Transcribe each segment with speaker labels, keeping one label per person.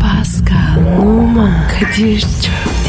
Speaker 1: Pascal, Oman, Kadir çok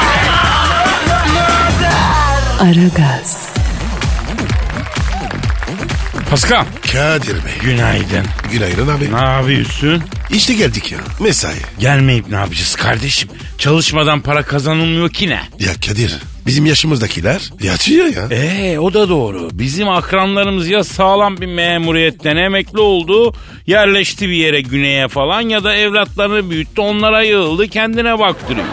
Speaker 1: Aragaz,
Speaker 2: Pascal.
Speaker 3: Kadir Bey.
Speaker 2: Günaydın.
Speaker 3: Günaydın abi.
Speaker 2: Ne yapıyorsun?
Speaker 3: İşte geldik ya. Mesai.
Speaker 2: Gelmeyip ne yapacağız kardeşim? Çalışmadan para kazanılmıyor ki ne?
Speaker 3: Ya Kadir bizim yaşımızdakiler yatıyor ya.
Speaker 2: Ee o da doğru. Bizim akranlarımız ya sağlam bir memuriyetten emekli oldu, yerleşti bir yere güneye falan ya da evlatlarını büyüttü onlara yığıldı kendine baktırıyor.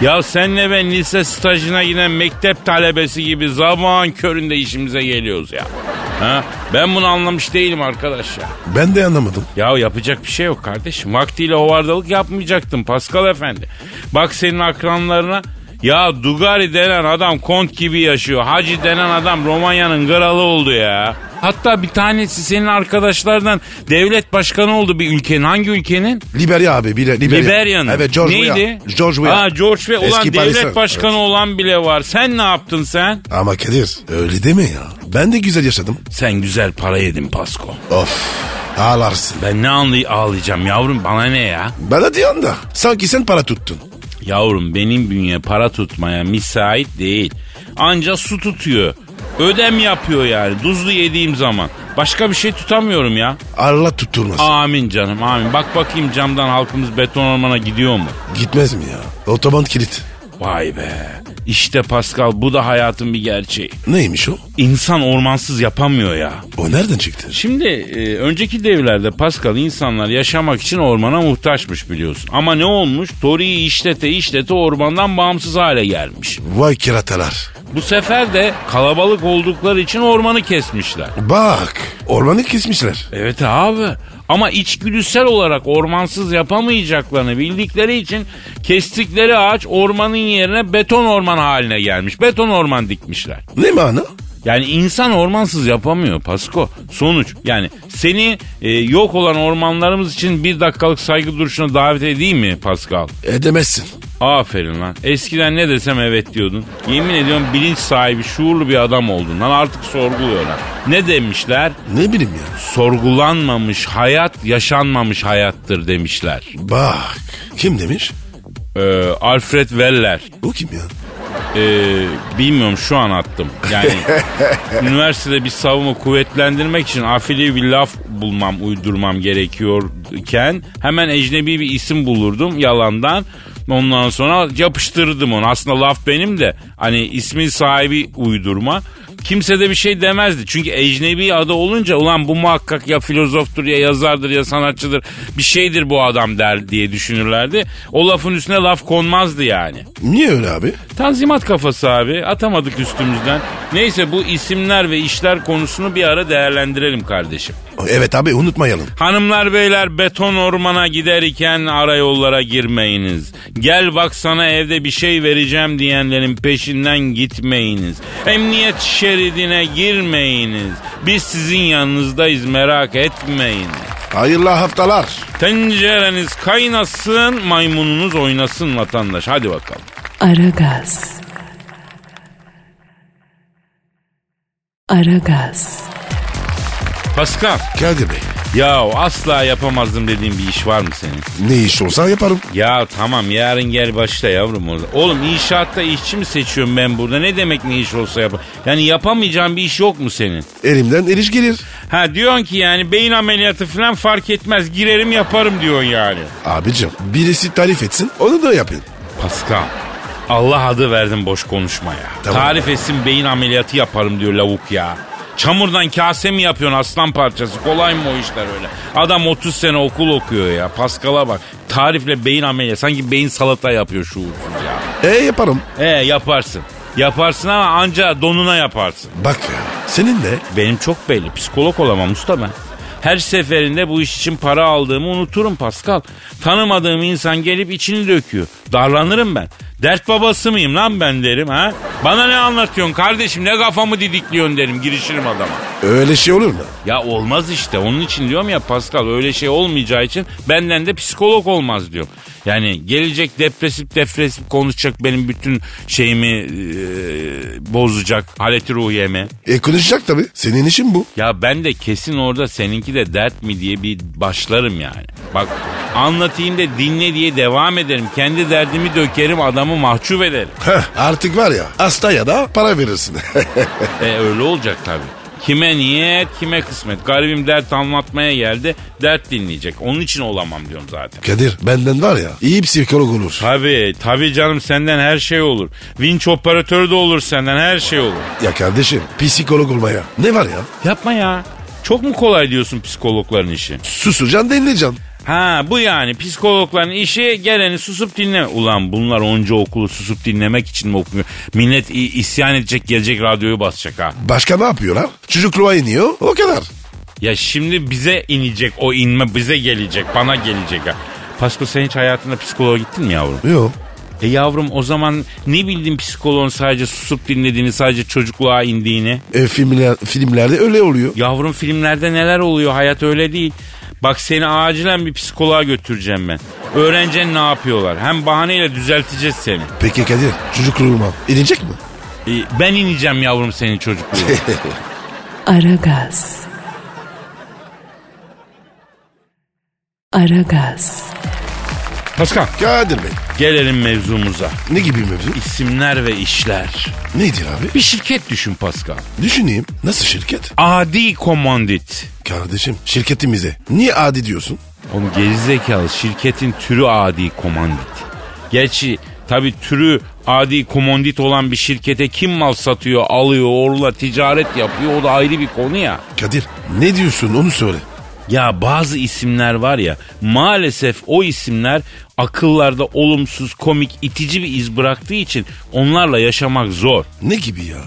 Speaker 2: Ya senle ben lise stajına giden mektep talebesi gibi zaman köründe işimize geliyoruz ya. Ha? Ben bunu anlamış değilim arkadaş ya.
Speaker 3: Ben de anlamadım.
Speaker 2: Ya yapacak bir şey yok kardeşim. Vaktiyle hovardalık yapmayacaktın Pascal efendi. Bak senin akranlarına ya Dugari denen adam kont gibi yaşıyor. Hacı denen adam Romanya'nın kralı oldu ya. Hatta bir tanesi senin arkadaşlardan devlet başkanı oldu bir ülkenin. Hangi ülkenin?
Speaker 3: Liberya abi. Bile, Liberya.
Speaker 2: Liberya'nın.
Speaker 3: Evet George Weah.
Speaker 2: Neydi?
Speaker 3: George Weah.
Speaker 2: Aa, George Weah. Ulan
Speaker 3: Eski
Speaker 2: devlet
Speaker 3: Paris'ten.
Speaker 2: başkanı olan bile var. Sen ne yaptın sen?
Speaker 3: Ama Kadir öyle deme ya. Ben de güzel yaşadım.
Speaker 2: Sen güzel para yedin Pasko.
Speaker 3: Of. Ağlarsın.
Speaker 2: Ben ne anlay ağlayacağım yavrum bana ne ya?
Speaker 3: Bana diyorsun da sanki sen para tuttun.
Speaker 2: Yavrum benim bünye para tutmaya müsait değil. Anca su tutuyor. Ödem yapıyor yani duzlu yediğim zaman. Başka bir şey tutamıyorum ya.
Speaker 3: Allah tutturmasın.
Speaker 2: Amin canım amin. Bak bakayım camdan halkımız beton ormana gidiyor mu?
Speaker 3: Gitmez mi ya? Otoban kilit.
Speaker 2: Vay be. İşte Pascal bu da hayatın bir gerçeği.
Speaker 3: Neymiş o?
Speaker 2: İnsan ormansız yapamıyor ya.
Speaker 3: O nereden çıktı?
Speaker 2: Şimdi e, önceki devirlerde Pascal insanlar yaşamak için ormana muhtaçmış biliyorsun. Ama ne olmuş? Tori'yi işlete işlete ormandan bağımsız hale gelmiş.
Speaker 3: Vay kiratalar.
Speaker 2: Bu sefer de kalabalık oldukları için ormanı kesmişler.
Speaker 3: Bak ormanı kesmişler.
Speaker 2: Evet abi. Ama içgüdüsel olarak ormansız yapamayacaklarını bildikleri için kestikleri ağaç ormanın yerine beton orman haline gelmiş. Beton orman dikmişler.
Speaker 3: Ne mana?
Speaker 2: Yani insan ormansız yapamıyor Pasko. Sonuç yani seni e, yok olan ormanlarımız için bir dakikalık saygı duruşuna davet edeyim mi Pascal?
Speaker 3: E, Edemezsin.
Speaker 2: Aferin lan. Eskiden ne desem evet diyordun. Yemin ediyorum bilinç sahibi, şuurlu bir adam oldun lan. Artık sorguluyorlar. Ne demişler?
Speaker 3: Ne bileyim ya.
Speaker 2: Sorgulanmamış hayat yaşanmamış hayattır demişler.
Speaker 3: Bak. Kim demiş?
Speaker 2: Ee, Alfred Weller.
Speaker 3: Bu kim ya?
Speaker 2: Ee, bilmiyorum şu an attım. Yani üniversitede bir savımı kuvvetlendirmek için afili bir laf bulmam, uydurmam gerekiyorken hemen ecnebi bir isim bulurdum yalandan. Ondan sonra yapıştırırdım onu. Aslında laf benim de hani ismin sahibi uydurma. Kimse de bir şey demezdi. Çünkü ecnebi adı olunca ulan bu muhakkak ya filozoftur ya yazardır ya sanatçıdır bir şeydir bu adam der diye düşünürlerdi. O lafın üstüne laf konmazdı yani.
Speaker 3: Niye öyle abi?
Speaker 2: Tanzimat kafası abi atamadık üstümüzden. Neyse bu isimler ve işler konusunu bir ara değerlendirelim kardeşim.
Speaker 3: Evet abi unutmayalım.
Speaker 2: Hanımlar beyler beton ormana giderken arayollara girmeyiniz. Gel bak sana evde bir şey vereceğim diyenlerin peşinden gitmeyiniz. Emniyet şeridine girmeyiniz. Biz sizin yanınızdayız merak etmeyin.
Speaker 3: Hayırlı haftalar.
Speaker 2: Tencereniz kaynasın maymununuz oynasın vatandaş hadi bakalım.
Speaker 1: Aragaz. Aragaz,
Speaker 2: Pascal.
Speaker 3: Kadir Bey
Speaker 2: Ya asla yapamazdım dediğin bir iş var mı senin?
Speaker 3: ne iş olsa yaparım.
Speaker 2: Ya tamam yarın gel başla yavrum orada. Oğlum inşaatta işçi mi seçiyorum ben burada? Ne demek ne iş olsa yap? Yani yapamayacağın bir iş yok mu senin?
Speaker 3: Elimden eriş gelir.
Speaker 2: Ha diyorsun ki yani beyin ameliyatı falan fark etmez. Girerim yaparım diyorsun yani.
Speaker 3: Abicim birisi tarif etsin onu da yapayım.
Speaker 2: Pascal. Allah adı verdim boş konuşmaya.
Speaker 3: Tamam.
Speaker 2: Tarif etsin beyin ameliyatı yaparım diyor lavuk ya. Çamurdan kase mi yapıyorsun aslan parçası? Kolay mı o işler öyle? Adam 30 sene okul okuyor ya. Paskal'a bak. Tarifle beyin ameliyatı. Sanki beyin salata yapıyor şuursuz ya.
Speaker 3: E yaparım.
Speaker 2: E yaparsın. Yaparsın ama anca donuna yaparsın.
Speaker 3: Bak ya senin de
Speaker 2: Benim çok belli. Psikolog olamam usta ben. Her seferinde bu iş için para aldığımı unuturum Pascal. Tanımadığım insan gelip içini döküyor. Darlanırım ben. Dert babası mıyım lan ben derim ha? Bana ne anlatıyorsun kardeşim ne kafamı didikliyorsun derim girişirim adama.
Speaker 3: Öyle şey olur mu?
Speaker 2: Ya olmaz işte onun için diyorum ya Pascal öyle şey olmayacağı için benden de psikolog olmaz diyor. Yani gelecek depresif depresif konuşacak benim bütün şeyimi e, bozacak aleti ruhiyemi.
Speaker 3: E konuşacak tabii. Senin işin bu.
Speaker 2: Ya ben de kesin orada seninki de dert mi diye bir başlarım yani. Bak anlatayım da dinle diye devam ederim. Kendi derdimi dökerim adamı mahcup ederim.
Speaker 3: Heh, artık var ya hasta ya da para verirsin.
Speaker 2: E öyle olacak tabii. Kime niyet kime kısmet. Garibim dert anlatmaya geldi dert dinleyecek. Onun için olamam diyorum zaten.
Speaker 3: Kadir benden var ya iyi psikolog olur.
Speaker 2: Tabii tabii canım senden her şey olur. Vinç operatörü de olur senden her şey olur.
Speaker 3: Ya kardeşim psikolog olmaya ne var ya?
Speaker 2: Yapma ya. Çok mu kolay diyorsun psikologların işi?
Speaker 3: Susacaksın dinleyeceksin.
Speaker 2: Ha bu yani psikologların işi geleni susup dinleme. Ulan bunlar onca okulu susup dinlemek için mi okumuyor? Millet i- isyan edecek gelecek radyoyu basacak ha.
Speaker 3: Başka ne yapıyorlar? Çocukluğa iniyor o kadar.
Speaker 2: Ya şimdi bize inecek o inme bize gelecek bana gelecek ha. Pasko sen hiç hayatında psikoloğa gittin mi yavrum?
Speaker 3: Yok.
Speaker 2: E yavrum o zaman ne bildin psikoloğun sadece susup dinlediğini sadece çocukluğa indiğini?
Speaker 3: E, filmler, filmlerde öyle oluyor.
Speaker 2: Yavrum filmlerde neler oluyor hayat öyle değil. Bak seni acilen bir psikoloğa götüreceğim ben. Öğreneceksin ne yapıyorlar. Hem bahaneyle düzelteceğiz seni.
Speaker 3: Peki Kadir çocukluğuma inecek mi?
Speaker 2: E, ben ineceğim yavrum senin çocukluğuna.
Speaker 1: Aragaz. Aragaz.
Speaker 2: Paskal.
Speaker 3: Kadir Bey
Speaker 2: Gelelim mevzumuza.
Speaker 3: ne gibi mevzu?
Speaker 2: İsimler ve işler.
Speaker 3: Nedir abi?
Speaker 2: Bir şirket düşün Pascal.
Speaker 3: Düşüneyim. Nasıl şirket?
Speaker 2: Adi komandit.
Speaker 3: Kardeşim şirketimize niye adi diyorsun?
Speaker 2: Onu gerizekalı şirketin türü adi komandit. Gerçi tabi türü adi komandit olan bir şirkete kim mal satıyor, alıyor, orla ticaret yapıyor o da ayrı bir konu ya.
Speaker 3: Kadir ne diyorsun onu söyle.
Speaker 2: Ya bazı isimler var ya maalesef o isimler akıllarda olumsuz, komik, itici bir iz bıraktığı için onlarla yaşamak zor.
Speaker 3: Ne gibi ya?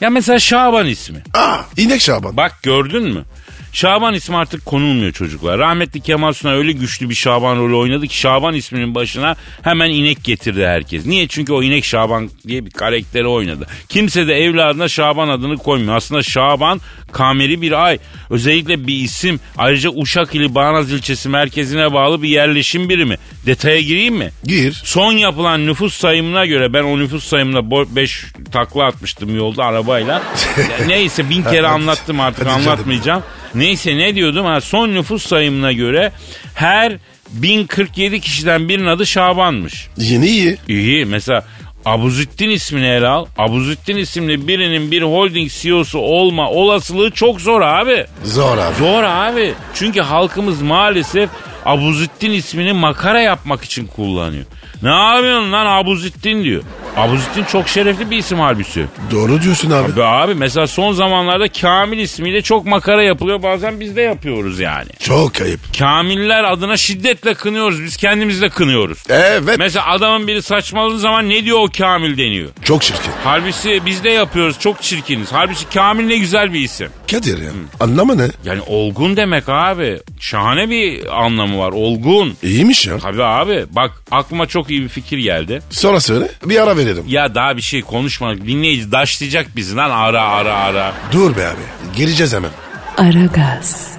Speaker 2: Ya mesela Şaban ismi.
Speaker 3: Aa inek Şaban.
Speaker 2: Bak gördün mü? Şaban ismi artık konulmuyor çocuklar. Rahmetli Kemal Sunal öyle güçlü bir Şaban rolü oynadı ki Şaban isminin başına hemen inek getirdi herkes. Niye? Çünkü o inek Şaban diye bir karakteri oynadı. Kimse de evladına Şaban adını koymuyor. Aslında Şaban kameri bir ay. Özellikle bir isim. Ayrıca Uşak ili Bağnaz ilçesi merkezine bağlı bir yerleşim birimi. Detaya gireyim mi?
Speaker 3: Gir.
Speaker 2: Son yapılan nüfus sayımına göre ben o nüfus sayımına 5 takla atmıştım yolda arabayla. Ya Neyse bin kere
Speaker 3: Hadi,
Speaker 2: anlattım artık
Speaker 3: hadi canım.
Speaker 2: anlatmayacağım. Neyse ne diyordum ha son nüfus sayımına göre her 1047 kişiden birinin adı Şaban'mış.
Speaker 3: Yeni iyi.
Speaker 2: İyi mesela Abuzittin ismini ele al. Abuzittin isimli birinin bir holding CEO'su olma olasılığı çok zor abi.
Speaker 3: Zor abi.
Speaker 2: Zor abi. Çünkü halkımız maalesef Abuzittin ismini makara yapmak için kullanıyor. Ne yapıyorsun lan Abuzittin diyor. Abuzittin çok şerefli bir isim halbuki.
Speaker 3: Doğru diyorsun abi.
Speaker 2: Be abi mesela son zamanlarda Kamil ismiyle çok makara yapılıyor. Bazen biz de yapıyoruz yani.
Speaker 3: Çok ayıp.
Speaker 2: Kamiller adına şiddetle kınıyoruz. Biz kendimiz de kınıyoruz.
Speaker 3: Evet.
Speaker 2: Mesela adamın biri saçmaladığı zaman ne diyor o Kamil deniyor.
Speaker 3: Çok şirket.
Speaker 2: Halbuki biz de yapıyoruz çok çirkiniz. Halbuki Kamil ne güzel bir isim.
Speaker 3: Kadir ya. Anlamı ne?
Speaker 2: Yani olgun demek abi. Şahane bir anlamı var. Olgun.
Speaker 3: İyiymiş ya.
Speaker 2: Tabii abi. Bak aklıma çok iyi bir fikir geldi.
Speaker 3: Sonra söyle. Bir ara verelim.
Speaker 2: Ya daha bir şey konuşmadık. Dinleyici daşlayacak bizi lan ara ara ara.
Speaker 3: Dur be abi. Geleceğiz hemen.
Speaker 1: Aragaz.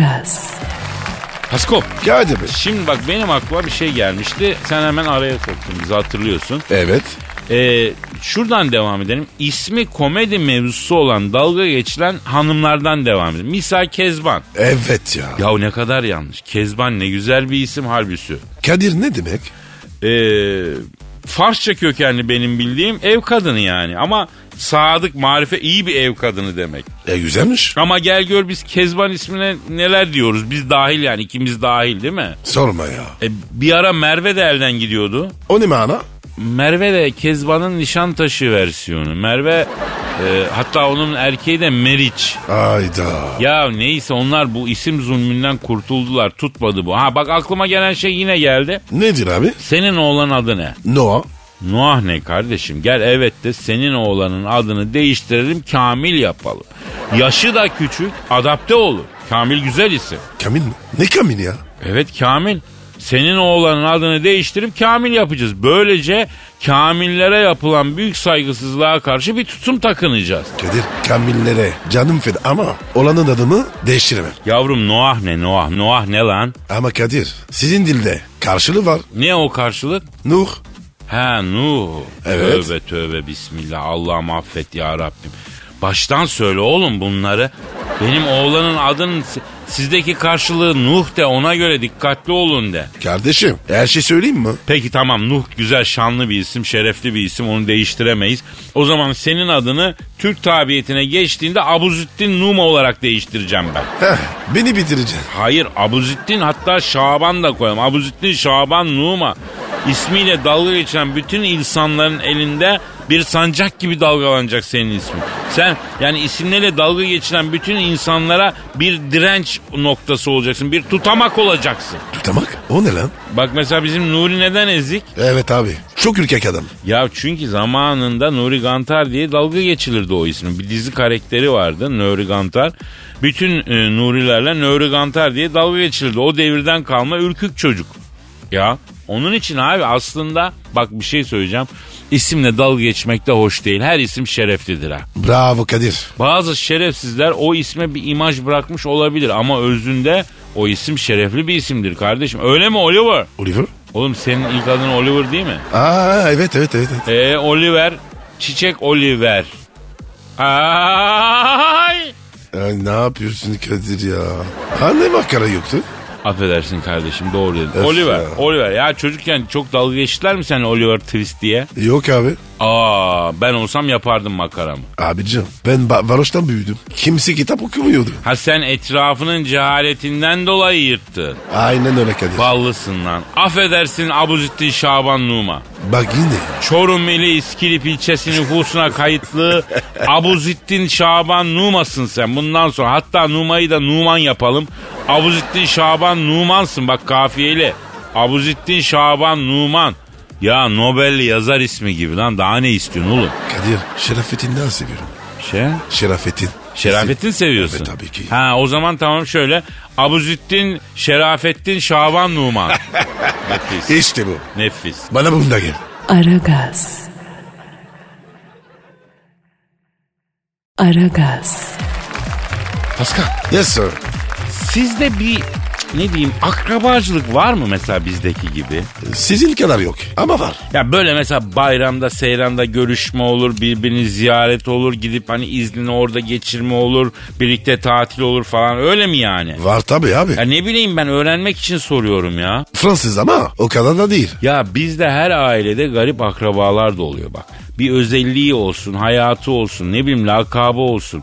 Speaker 1: Aragaz.
Speaker 2: Paskop.
Speaker 3: Kadir Bey.
Speaker 2: Şimdi bak benim aklıma bir şey gelmişti. Sen hemen araya soktun bizi hatırlıyorsun.
Speaker 3: Evet.
Speaker 2: Ee, şuradan devam edelim. İsmi komedi mevzusu olan dalga geçilen hanımlardan devam edelim. Misal Kezban.
Speaker 3: Evet ya.
Speaker 2: Yahu ne kadar yanlış. Kezban ne güzel bir isim harbisi.
Speaker 3: Kadir ne demek?
Speaker 2: Ee, Farsça kökenli benim bildiğim ev kadını yani. Ama sadık, marife iyi bir ev kadını demek.
Speaker 3: E güzelmiş.
Speaker 2: Ama gel gör biz Kezban ismine neler diyoruz. Biz dahil yani ikimiz dahil değil mi?
Speaker 3: Sorma ya.
Speaker 2: E, bir ara Merve de elden gidiyordu.
Speaker 3: O ne mana?
Speaker 2: Merve de Kezban'ın Nişantaşı versiyonu. Merve e, hatta onun erkeği de Meriç.
Speaker 3: Ayda.
Speaker 2: Ya neyse onlar bu isim zulmünden kurtuldular. Tutmadı bu. Ha bak aklıma gelen şey yine geldi.
Speaker 3: Nedir abi?
Speaker 2: Senin oğlan adı ne?
Speaker 3: Noah.
Speaker 2: Nuh ne kardeşim gel evet de senin oğlanın adını değiştirelim Kamil yapalım. Yaşı da küçük adapte olur. Kamil güzel isim.
Speaker 3: Kamil mi? Ne Kamil ya?
Speaker 2: Evet Kamil. Senin oğlanın adını değiştirip Kamil yapacağız. Böylece Kamillere yapılan büyük saygısızlığa karşı bir tutum takınacağız.
Speaker 3: Kadir Kamillere canım feda ama olanın adını değiştiremem.
Speaker 2: Yavrum Noah ne Noah? Noah ne lan?
Speaker 3: Ama Kadir sizin dilde karşılığı var.
Speaker 2: Ne o karşılık?
Speaker 3: Nuh.
Speaker 2: Ha Nuh.
Speaker 3: Evet.
Speaker 2: Tövbe tövbe bismillah. Allah'ım affet ya Rabbim. Baştan söyle oğlum bunları. Benim oğlanın adının si- sizdeki karşılığı Nuh de ona göre dikkatli olun de.
Speaker 3: Kardeşim her şey söyleyeyim mi?
Speaker 2: Peki tamam Nuh güzel şanlı bir isim, şerefli bir isim onu değiştiremeyiz. O zaman senin adını Türk tabiyetine geçtiğinde Abuzüttin Numa olarak değiştireceğim ben.
Speaker 3: Heh, beni bitireceksin.
Speaker 2: Hayır Abuzüttin hatta Şaban da koyalım. Abuzüttin Şaban Numa. İsmiyle dalga geçen bütün insanların elinde bir sancak gibi dalgalanacak senin ismin. Sen yani isimlerle dalga geçilen bütün insanlara bir direnç noktası olacaksın. Bir tutamak olacaksın.
Speaker 3: Tutamak o ne lan?
Speaker 2: Bak mesela bizim Nuri neden ezik?
Speaker 3: Evet abi çok ürkek adam.
Speaker 2: Ya çünkü zamanında Nuri Gantar diye dalga geçilirdi o ismin. Bir dizi karakteri vardı Nuri Gantar. Bütün e, Nurilerle Nuri Gantar diye dalga geçilirdi. O devirden kalma ürkük çocuk. Ya onun için abi aslında bak bir şey söyleyeceğim. İsimle dalga geçmek de hoş değil. Her isim şereflidir ha.
Speaker 3: Bravo Kadir.
Speaker 2: Bazı şerefsizler o isme bir imaj bırakmış olabilir ama özünde o isim şerefli bir isimdir kardeşim. Öyle mi Oliver?
Speaker 3: Oliver.
Speaker 2: Oğlum senin ilk adın Oliver değil mi?
Speaker 3: Aa evet evet evet. evet.
Speaker 2: Ee, Oliver, çiçek Oliver. Ay!
Speaker 3: Ay, ne yapıyorsun Kadir ya? Anne makara yoktu.
Speaker 2: Affedersin kardeşim doğru dedin.
Speaker 3: Öf
Speaker 2: Oliver,
Speaker 3: ya.
Speaker 2: Oliver. Ya çocukken çok dalga geçtiler mi sen Oliver Twist diye?
Speaker 3: Yok abi.
Speaker 2: Aa ben olsam yapardım makaramı.
Speaker 3: Abicim ben ba- varoştan büyüdüm. Kimse kitap okumuyordu.
Speaker 2: Ha sen etrafının cehaletinden dolayı yırttın.
Speaker 3: Aynen öyle Kadir.
Speaker 2: Ballısın lan. Affedersin Abuzittin Şaban Numa.
Speaker 3: Bak yine ya.
Speaker 2: Çorum ili İskilip ilçesi nüfusuna kayıtlı Abuzittin Şaban Numa'sın sen bundan sonra. Hatta Numa'yı da Numan yapalım. Abuzittin Şaban Numan'sın bak kafiyeli. Abuzittin Şaban Numan. Ya Nobel yazar ismi gibi lan daha ne istiyorsun oğlum?
Speaker 3: Kadir Şerafettin'den seviyorum.
Speaker 2: Şey?
Speaker 3: Şerafettin.
Speaker 2: Şerafettin seviyorsun.
Speaker 3: Evet, tabii ki.
Speaker 2: Ha o zaman tamam şöyle. Abuzittin Şerafettin Şaban Numan. nefis.
Speaker 3: İşte bu.
Speaker 2: Nefis.
Speaker 3: Bana bunda gel.
Speaker 1: Aragaz. Aragaz.
Speaker 3: Pascal. Yes sir.
Speaker 2: Sizde bir ne diyeyim akrabacılık var mı mesela bizdeki gibi?
Speaker 3: Sizin kadar yok ama var.
Speaker 2: Ya böyle mesela bayramda seyranda görüşme olur, birbirini ziyaret olur, gidip hani iznini orada geçirme olur, birlikte tatil olur falan öyle mi yani?
Speaker 3: Var tabii abi.
Speaker 2: Ya ne bileyim ben öğrenmek için soruyorum ya.
Speaker 3: Fransız ama o kadar da değil.
Speaker 2: Ya bizde her ailede garip akrabalar da oluyor bak. Bir özelliği olsun, hayatı olsun, ne bileyim lakabı olsun.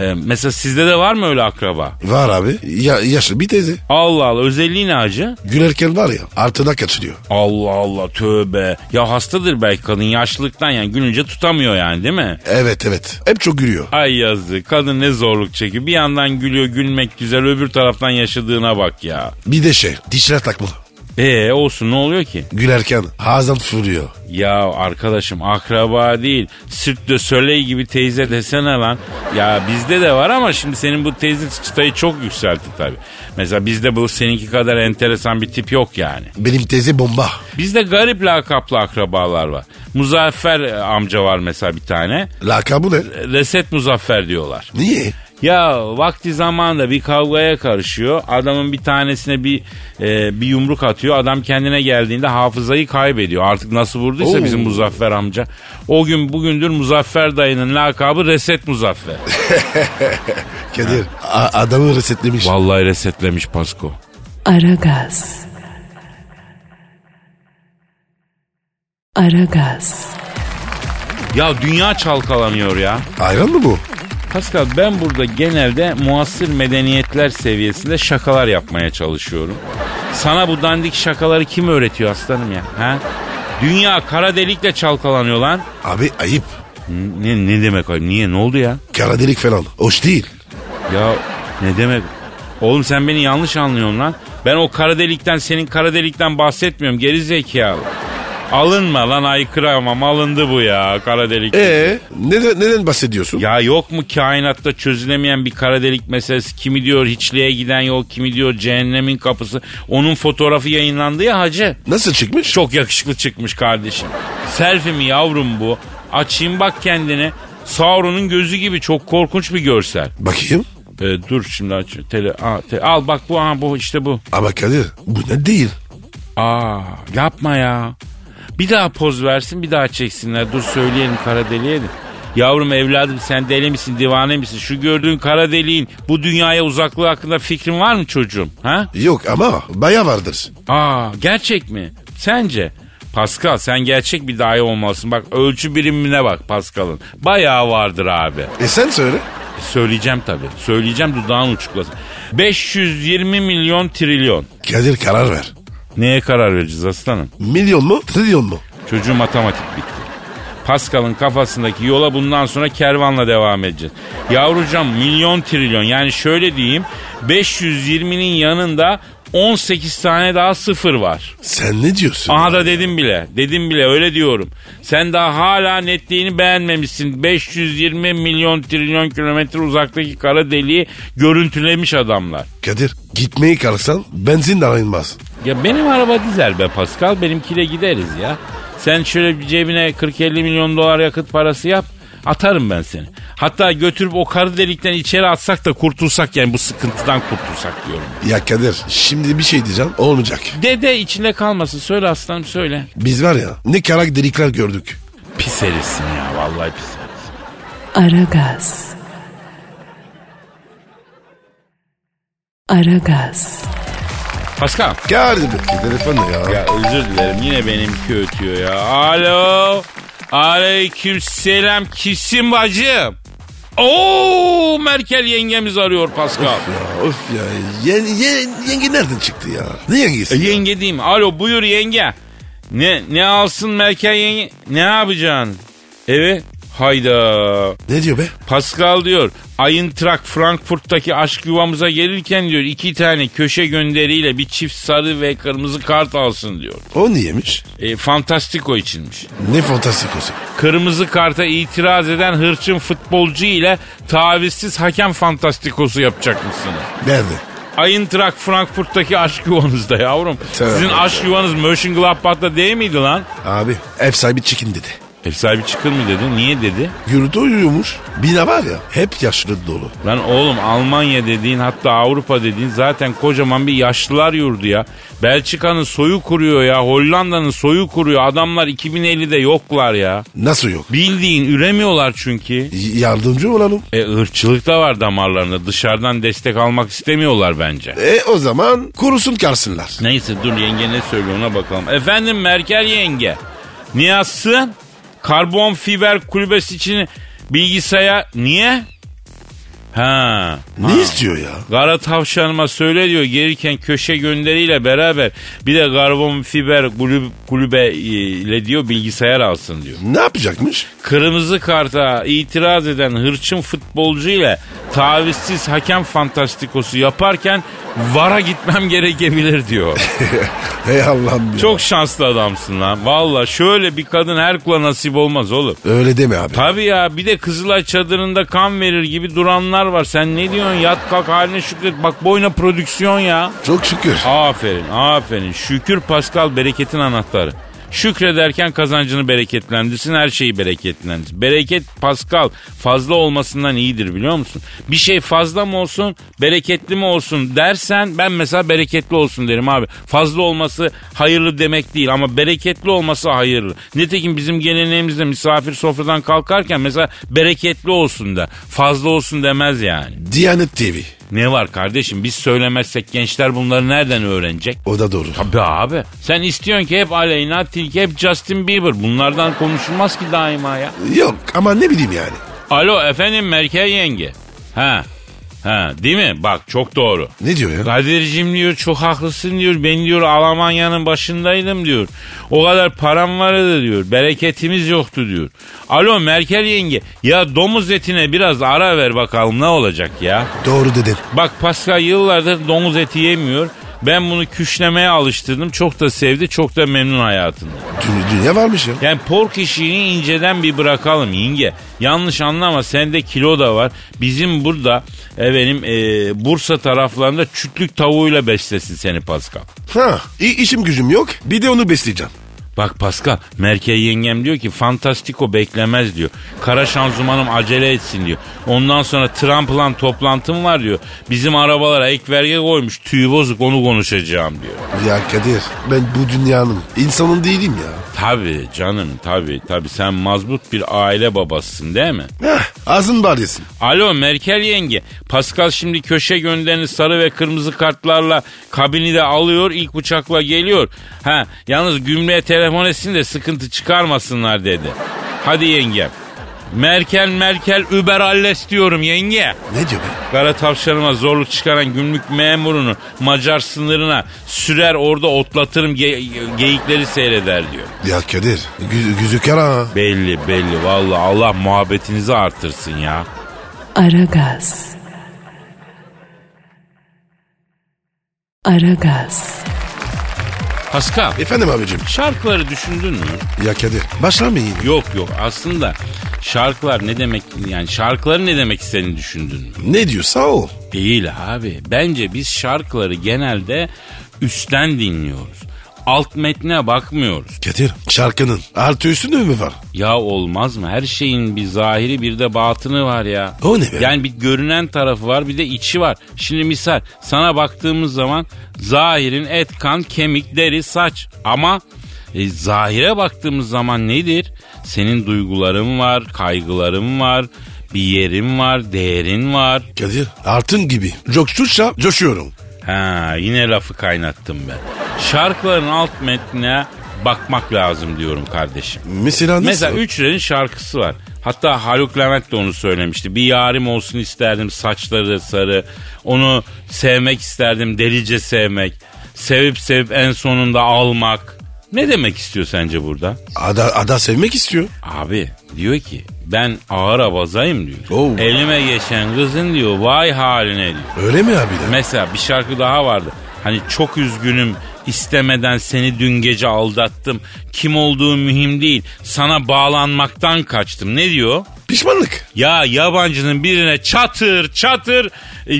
Speaker 2: Ee, mesela sizde de var mı öyle akraba?
Speaker 3: Var abi. Ya, yaşlı bir teyze.
Speaker 2: Allah Allah özelliği ne acı?
Speaker 3: Gülerken var ya altına kaçırıyor.
Speaker 2: Allah Allah tövbe. Ya hastadır belki kadın yaşlılıktan yani gülünce tutamıyor yani değil mi?
Speaker 3: Evet evet. Hep çok gülüyor.
Speaker 2: Ay yazık kadın ne zorluk çekiyor. Bir yandan gülüyor gülmek güzel öbür taraftan yaşadığına bak ya.
Speaker 3: Bir de şey dişler takmalı.
Speaker 2: E olsun ne oluyor ki?
Speaker 3: Gülerken ağzım fırlıyor.
Speaker 2: Ya arkadaşım akraba değil. Sürt de Soleil gibi teyze desene lan. Ya bizde de var ama şimdi senin bu teyze çıtayı çok yükseltti tabii. Mesela bizde bu seninki kadar enteresan bir tip yok yani.
Speaker 3: Benim teyze bomba.
Speaker 2: Bizde garip lakaplı akrabalar var. Muzaffer e, amca var mesela bir tane.
Speaker 3: Lakabı ne?
Speaker 2: Reset Muzaffer diyorlar.
Speaker 3: Niye?
Speaker 2: Ya vakti zamanında bir kavgaya karışıyor. Adamın bir tanesine bir e, bir yumruk atıyor. Adam kendine geldiğinde hafızayı kaybediyor. Artık nasıl vurduysa
Speaker 3: Oo.
Speaker 2: bizim Muzaffer amca. O gün bugündür Muzaffer dayının lakabı Reset Muzaffer.
Speaker 3: Kadir a- adamı resetlemiş.
Speaker 2: Vallahi resetlemiş Pasko.
Speaker 1: Aragaz. Aragaz.
Speaker 2: Ya dünya çalkalanıyor ya.
Speaker 3: Hayran mı bu?
Speaker 2: Pascal ben burada genelde muasır medeniyetler seviyesinde şakalar yapmaya çalışıyorum. Sana bu dandik şakaları kim öğretiyor aslanım ya? Ha? Dünya kara delikle çalkalanıyor lan.
Speaker 3: Abi ayıp.
Speaker 2: N- Ne, ne demek ayıp? Niye? Ne oldu ya?
Speaker 3: Kara delik falan. Hoş değil.
Speaker 2: Ya ne demek? Oğlum sen beni yanlış anlıyorsun lan. Ben o kara delikten senin kara delikten bahsetmiyorum geri zekalı. Alınma lan aykırı ama alındı bu ya kara delik.
Speaker 3: Ee, neden, neden bahsediyorsun?
Speaker 2: Ya yok mu kainatta çözülemeyen bir kara delik meselesi? Kimi diyor hiçliğe giden yol, kimi diyor cehennemin kapısı. Onun fotoğrafı yayınlandı ya hacı.
Speaker 3: Nasıl çıkmış?
Speaker 2: Çok yakışıklı çıkmış kardeşim. Selfie mi yavrum bu? Açayım bak kendini. Sauron'un gözü gibi çok korkunç bir görsel.
Speaker 3: Bakayım.
Speaker 2: Ee, dur şimdi aç. Tele, aa, te- al bak bu aha, bu işte bu.
Speaker 3: Ama Kadir bu ne değil.
Speaker 2: Aa yapma ya. Bir daha poz versin bir daha çeksinler. Dur söyleyelim kara deliğe de. Yavrum evladım sen deli misin divane misin? Şu gördüğün kara deliğin bu dünyaya uzaklığı hakkında fikrin var mı çocuğum? Ha?
Speaker 3: Yok ama baya vardır.
Speaker 2: Aa gerçek mi? Sence? Pascal sen gerçek bir dahi olmalısın. Bak ölçü birimine bak Pascal'ın. Bayağı vardır abi.
Speaker 3: E sen söyle.
Speaker 2: Söyleyeceğim tabii. Söyleyeceğim dudağın uçuklasın. 520 milyon trilyon.
Speaker 3: Kadir karar ver.
Speaker 2: Neye karar vereceğiz aslanım?
Speaker 3: Milyon mu? Trilyon mu?
Speaker 2: Çocuğu matematik bitti. Pascal'ın kafasındaki yola bundan sonra kervanla devam edeceğiz. Yavrucam milyon trilyon yani şöyle diyeyim 520'nin yanında 18 tane daha sıfır var.
Speaker 3: Sen ne diyorsun?
Speaker 2: Aha da dedim bile. Dedim bile öyle diyorum. Sen daha hala netliğini beğenmemişsin. 520 milyon trilyon kilometre uzaktaki kara deliği görüntülemiş adamlar.
Speaker 3: Kadir gitmeye kalksan benzin de alınmaz.
Speaker 2: Ya benim araba dizel be Pascal. Benimkiyle gideriz ya. Sen şöyle bir cebine 40-50 milyon dolar yakıt parası yap. Atarım ben seni. Hatta götürüp o karı delikten içeri atsak da kurtulsak yani bu sıkıntıdan kurtulsak diyorum.
Speaker 3: Ya Kadir şimdi bir şey diyeceğim olmayacak.
Speaker 2: Dede içinde kalmasın. Söyle aslanım söyle.
Speaker 3: Biz var ya ne karak delikler gördük.
Speaker 2: Pis herifsin ya vallahi pis herif.
Speaker 1: Aragaz. Aragaz.
Speaker 2: Pascal.
Speaker 3: Kadir telefonu ya.
Speaker 2: Ya özür dilerim yine benimki ötüyor ya. Alo. Aleyküm selam kisim bacım. Oo Merkel yengemiz arıyor Pascal.
Speaker 3: Ya Of ya yen, yen- yenge nereden çıktı ya? Ne yengesi?
Speaker 2: E,
Speaker 3: ya?
Speaker 2: yenge diyeyim. Alo buyur yenge. Ne ne alsın Merkel yenge? Ne yapacaksın? Evet. Hayda.
Speaker 3: Ne diyor be?
Speaker 2: Pascal diyor Ayıntrak Frankfurt'taki aşk yuvamıza gelirken diyor iki tane köşe gönderiyle bir çift sarı ve kırmızı kart alsın diyor.
Speaker 3: O niyemiş?
Speaker 2: E, Fantastiko içinmiş.
Speaker 3: Ne fantastikosu.
Speaker 2: Kırmızı karta itiraz eden hırçın futbolcu ile tavizsiz hakem fantastikosu yapacakmışsınız.
Speaker 3: Nerede?
Speaker 2: Eintracht Frankfurt'taki aşk yuvanızda yavrum.
Speaker 3: Tövbe
Speaker 2: Sizin aşk yuvanız Mönchengladbach'ta değil miydi lan?
Speaker 3: Abi ev sahibi çekin dedi. Hep
Speaker 2: Ev sahibi çıkır mı dedi? Niye dedi?
Speaker 3: Yürüdü uyuyormuş. Bina var ya hep yaşlı dolu.
Speaker 2: Lan oğlum Almanya dediğin hatta Avrupa dediğin zaten kocaman bir yaşlılar yurdu ya. Belçika'nın soyu kuruyor ya. Hollanda'nın soyu kuruyor. Adamlar 2050'de yoklar ya.
Speaker 3: Nasıl yok?
Speaker 2: Bildiğin üremiyorlar çünkü.
Speaker 3: Y- yardımcı olalım.
Speaker 2: E ırkçılık da var damarlarında. Dışarıdan destek almak istemiyorlar bence.
Speaker 3: E o zaman kurusun kalsınlar.
Speaker 2: Neyse dur yenge ne söylüyor ona bakalım. Efendim Merkel yenge. Niyazsın? Karbon fiber kulübesi için bilgisayar... Niye? Ha.
Speaker 3: Ne istiyor ya?
Speaker 2: Kara tavşanıma söyle diyor gelirken köşe gönderiyle beraber bir de karbon fiber kulübe, kulübe e, ile diyor bilgisayar alsın diyor.
Speaker 3: Ne yapacakmış?
Speaker 2: Kırmızı karta itiraz eden hırçın futbolcu ile tavizsiz hakem fantastikosu yaparken vara gitmem gerekebilir diyor.
Speaker 3: Hey Allah'ım ya.
Speaker 2: Çok şanslı adamsın lan. Valla şöyle bir kadın her kula nasip olmaz oğlum.
Speaker 3: Öyle deme abi.
Speaker 2: Tabii ya bir de Kızılay çadırında kan verir gibi duranlar var. Sen ne diyorsun yat kalk haline şükret. Bak boyuna prodüksiyon ya.
Speaker 3: Çok şükür.
Speaker 2: Aferin aferin. Şükür Pascal bereketin anahtarı. Şükrederken kazancını bereketlendirsin her şeyi bereketlendirsin. Bereket Pascal fazla olmasından iyidir biliyor musun? Bir şey fazla mı olsun bereketli mi olsun dersen ben mesela bereketli olsun derim abi. Fazla olması hayırlı demek değil ama bereketli olması hayırlı. Nitekim bizim geleneğimizde misafir sofradan kalkarken mesela bereketli olsun da fazla olsun demez yani.
Speaker 3: Diyanet TV.
Speaker 2: Ne var kardeşim biz söylemezsek gençler bunları nereden öğrenecek?
Speaker 3: O da doğru.
Speaker 2: Tabii abi. Sen istiyorsun ki hep Aleyna Tilki hep Justin Bieber. Bunlardan konuşulmaz ki daima ya.
Speaker 3: Yok ama ne bileyim yani.
Speaker 2: Alo efendim Merkel yenge. Ha. Ha değil mi? Bak çok doğru.
Speaker 3: Ne diyor ya?
Speaker 2: Kadir'cim diyor çok haklısın diyor. Ben diyor Almanya'nın başındaydım diyor. O kadar param vardı diyor. Bereketimiz yoktu diyor. Alo Merkel yenge. Ya domuz etine biraz ara ver bakalım ne olacak ya.
Speaker 3: Doğru dedin.
Speaker 2: Bak Pascal yıllardır domuz eti yemiyor. Ben bunu küşlemeye alıştırdım. Çok da sevdi, çok da memnun hayatında.
Speaker 3: Dü- dünya varmış ya.
Speaker 2: Yani pork işini inceden bir bırakalım yenge. Yanlış anlama sende kilo da var. Bizim burada efendim e, Bursa taraflarında çütlük tavuğuyla beslesin seni Pascal.
Speaker 3: Ha, i- işim gücüm yok. Bir de onu besleyeceğim.
Speaker 2: Bak Pascal, Merkel yengem diyor ki Fantastiko beklemez diyor. Kara şanzumanım acele etsin diyor. Ondan sonra Trump'la toplantım var diyor. Bizim arabalara ek vergi koymuş. Tüy bozuk onu konuşacağım diyor.
Speaker 3: Ya Kadir ben bu dünyanın insanın değilim ya.
Speaker 2: Tabii canım tabii tabii sen mazbut bir aile babasısın değil mi?
Speaker 3: Heh, ağzın bal yesin.
Speaker 2: Alo Merkel yenge. Pascal şimdi köşe gönderini sarı ve kırmızı kartlarla kabini de alıyor. ilk uçakla geliyor. Ha yalnız gümrüğe telefon etsin de sıkıntı çıkarmasınlar dedi. Hadi yengem. Merkel Merkel Uber alles diyorum yenge.
Speaker 3: Ne diyor be?
Speaker 2: Kara tavşanıma zorluk çıkaran gümrük memurunu Macar sınırına sürer orada otlatırım ge- geyikleri seyreder diyor.
Speaker 3: Ya Kadir gü- gözü kara ha.
Speaker 2: Belli belli vallahi Allah muhabbetinizi artırsın ya.
Speaker 1: Aragaz. Aragaz.
Speaker 2: Pascal
Speaker 3: Efendim abicim.
Speaker 2: şarkıları düşündün mü?
Speaker 3: Ya Kadir başlar mı yine?
Speaker 2: Yok yok aslında şarkılar ne demek yani şarkıları ne demek istediğini düşündün mü?
Speaker 3: Ne diyor sağ ol.
Speaker 2: Değil abi bence biz şarkıları genelde üstten dinliyoruz. Alt metne bakmıyoruz.
Speaker 3: Kadir şarkının artı üstünde mü var?
Speaker 2: Ya olmaz mı? Her şeyin bir zahiri bir de batını var ya.
Speaker 3: O ne be?
Speaker 2: Yani bir görünen tarafı var bir de içi var. Şimdi misal sana baktığımız zaman zahirin et, kan, kemik, deri, saç. Ama e, zahire baktığımız zaman nedir? Senin duyguların var, kaygıların var, bir yerin var, değerin var.
Speaker 3: Kadir altın gibi. Coştukça coşuyorum.
Speaker 2: Ha yine lafı kaynattım ben. Şarkıların alt metnine bakmak lazım diyorum kardeşim.
Speaker 3: Mesela nasıl?
Speaker 2: Mesela Üçler'in şarkısı var. Hatta Haluk Levent de onu söylemişti. Bir yarim olsun isterdim saçları sarı. Onu sevmek isterdim delice sevmek. Sevip sevip en sonunda almak. Ne demek istiyor sence burada?
Speaker 3: Ada, ada sevmek istiyor.
Speaker 2: Abi diyor ki ben ağır abazayım diyor.
Speaker 3: Oo.
Speaker 2: Elime geçen kızın diyor vay haline diyor.
Speaker 3: Öyle mi abi de?
Speaker 2: Mesela bir şarkı daha vardı. Hani çok üzgünüm istemeden seni dün gece aldattım. Kim olduğu mühim değil. Sana bağlanmaktan kaçtım. Ne diyor?
Speaker 3: Pişmanlık.
Speaker 2: Ya yabancının birine çatır çatır e,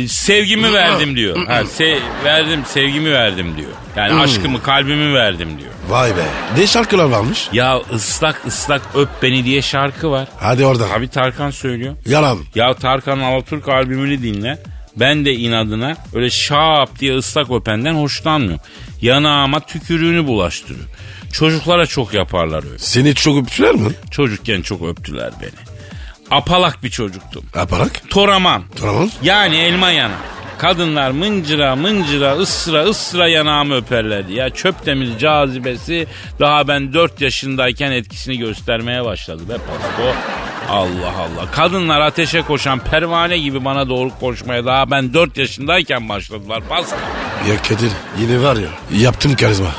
Speaker 2: e, sevgimi verdim diyor. Ha, se- verdim sevgimi verdim diyor. Yani aşkımı kalbimi verdim diyor.
Speaker 3: Vay be. Ne şarkılar varmış?
Speaker 2: Ya ıslak ıslak öp beni diye şarkı var.
Speaker 3: Hadi orada.
Speaker 2: Abi Tarkan söylüyor.
Speaker 3: Yalan.
Speaker 2: Ya Tarkan Alaturk albümünü dinle. Ben de inadına öyle şap diye ıslak öpenden hoşlanmıyorum. Yanağıma tükürüğünü bulaştırıyor. Çocuklara çok yaparlar öyle.
Speaker 3: Seni çok öptüler mi?
Speaker 2: Çocukken çok öptüler beni. Apalak bir çocuktum.
Speaker 3: Aparak.
Speaker 2: Toraman.
Speaker 3: Tamam.
Speaker 2: Yani elma yana. Kadınlar mıncıra mıncıra ısra ısra yanağımı öperlerdi. Ya çöp demir cazibesi daha ben 4 yaşındayken etkisini göstermeye başladı be pasto. Allah Allah. Kadınlar ateşe koşan pervane gibi bana doğru koşmaya daha ben 4 yaşındayken başladılar Pascal.
Speaker 3: Ya Kadir yine var ya yaptın karizma.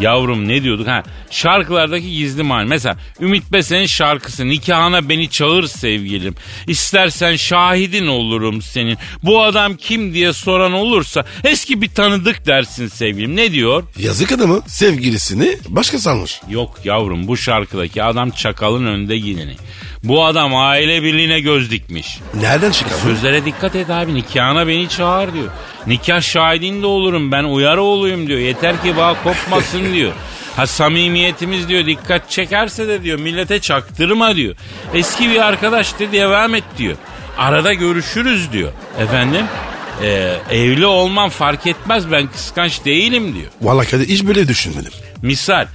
Speaker 2: Yavrum ne diyorduk ha? Şarkılardaki gizli mani. Mesela Ümit Besen'in şarkısı nikahına beni çağır sevgilim. İstersen şahidin olurum senin. Bu adam kim diye soran olursa eski bir tanıdık dersin sevgilim. Ne diyor?
Speaker 3: Yazık adamı sevgilisini başka sanmış.
Speaker 2: Yok yavrum bu şarkıdaki adam çakalın önde gideni. Bu adam aile birliğine göz dikmiş.
Speaker 3: Nereden çıkardın?
Speaker 2: Sözlere dikkat et abi nikahına beni çağır diyor. Nikah şahidin de olurum ben uyarı olayım diyor. Yeter ki bağ kopmasın diyor. Ha samimiyetimiz diyor dikkat çekerse de diyor millete çaktırma diyor. Eski bir arkadaş de devam et diyor. Arada görüşürüz diyor. Efendim "Ee, evli olmam fark etmez ben kıskanç değilim diyor.
Speaker 3: Vallahi Kadir hiç böyle düşünmedim.
Speaker 2: Misal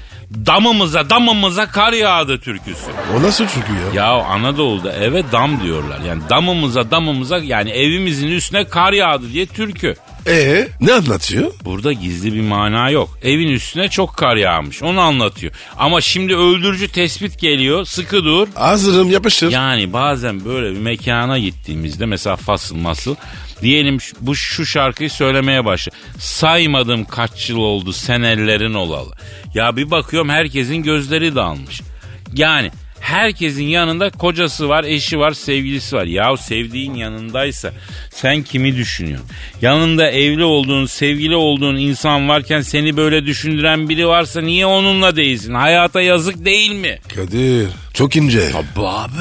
Speaker 2: damımıza damımıza kar yağdı türküsü.
Speaker 3: O nasıl çünkü ya?
Speaker 2: Ya Anadolu'da eve dam diyorlar. Yani damımıza damımıza yani evimizin üstüne kar yağdı diye türkü.
Speaker 3: Ee ne anlatıyor?
Speaker 2: Burada gizli bir mana yok. Evin üstüne çok kar yağmış. Onu anlatıyor. Ama şimdi öldürücü tespit geliyor. Sıkı dur.
Speaker 3: Hazırım yapıştır.
Speaker 2: Yani bazen böyle bir mekana gittiğimizde mesela fasıl masıl diyelim şu- bu şu şarkıyı söylemeye başla. Saymadım kaç yıl oldu senelerin olalı. Ya bir bakıyorum herkesin gözleri dalmış. Yani Herkesin yanında kocası var, eşi var, sevgilisi var. Yahu sevdiğin yanındaysa sen kimi düşünüyorsun? Yanında evli olduğun, sevgili olduğun insan varken seni böyle düşündüren biri varsa niye onunla değilsin? Hayata yazık değil mi?
Speaker 3: Kadir çok ince.
Speaker 2: Tabii abi.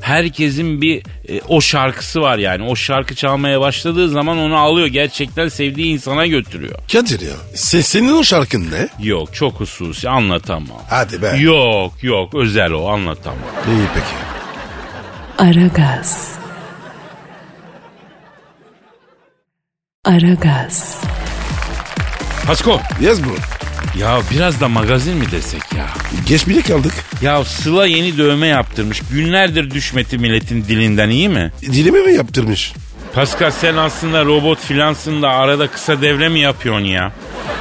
Speaker 2: Herkesin bir e, o şarkısı var yani. O şarkı çalmaya başladığı zaman onu alıyor. Gerçekten sevdiği insana götürüyor.
Speaker 3: Kadir ya se- senin o şarkın ne?
Speaker 2: Yok çok hususi anlatamam.
Speaker 3: Hadi be.
Speaker 2: Yok yok özel o anlatamam.
Speaker 3: İyi peki.
Speaker 1: Aragaz. Aragaz.
Speaker 2: Pasko
Speaker 3: Yaz bu.
Speaker 2: ya biraz da magazin mi desek ya?
Speaker 3: Geç bile kaldık.
Speaker 2: Ya Sıla yeni dövme yaptırmış. Günlerdir düşmedi milletin dilinden iyi mi?
Speaker 3: Dilimi mi yaptırmış?
Speaker 2: Pascal sen aslında robot filansın da arada kısa devre mi yapıyorsun ya?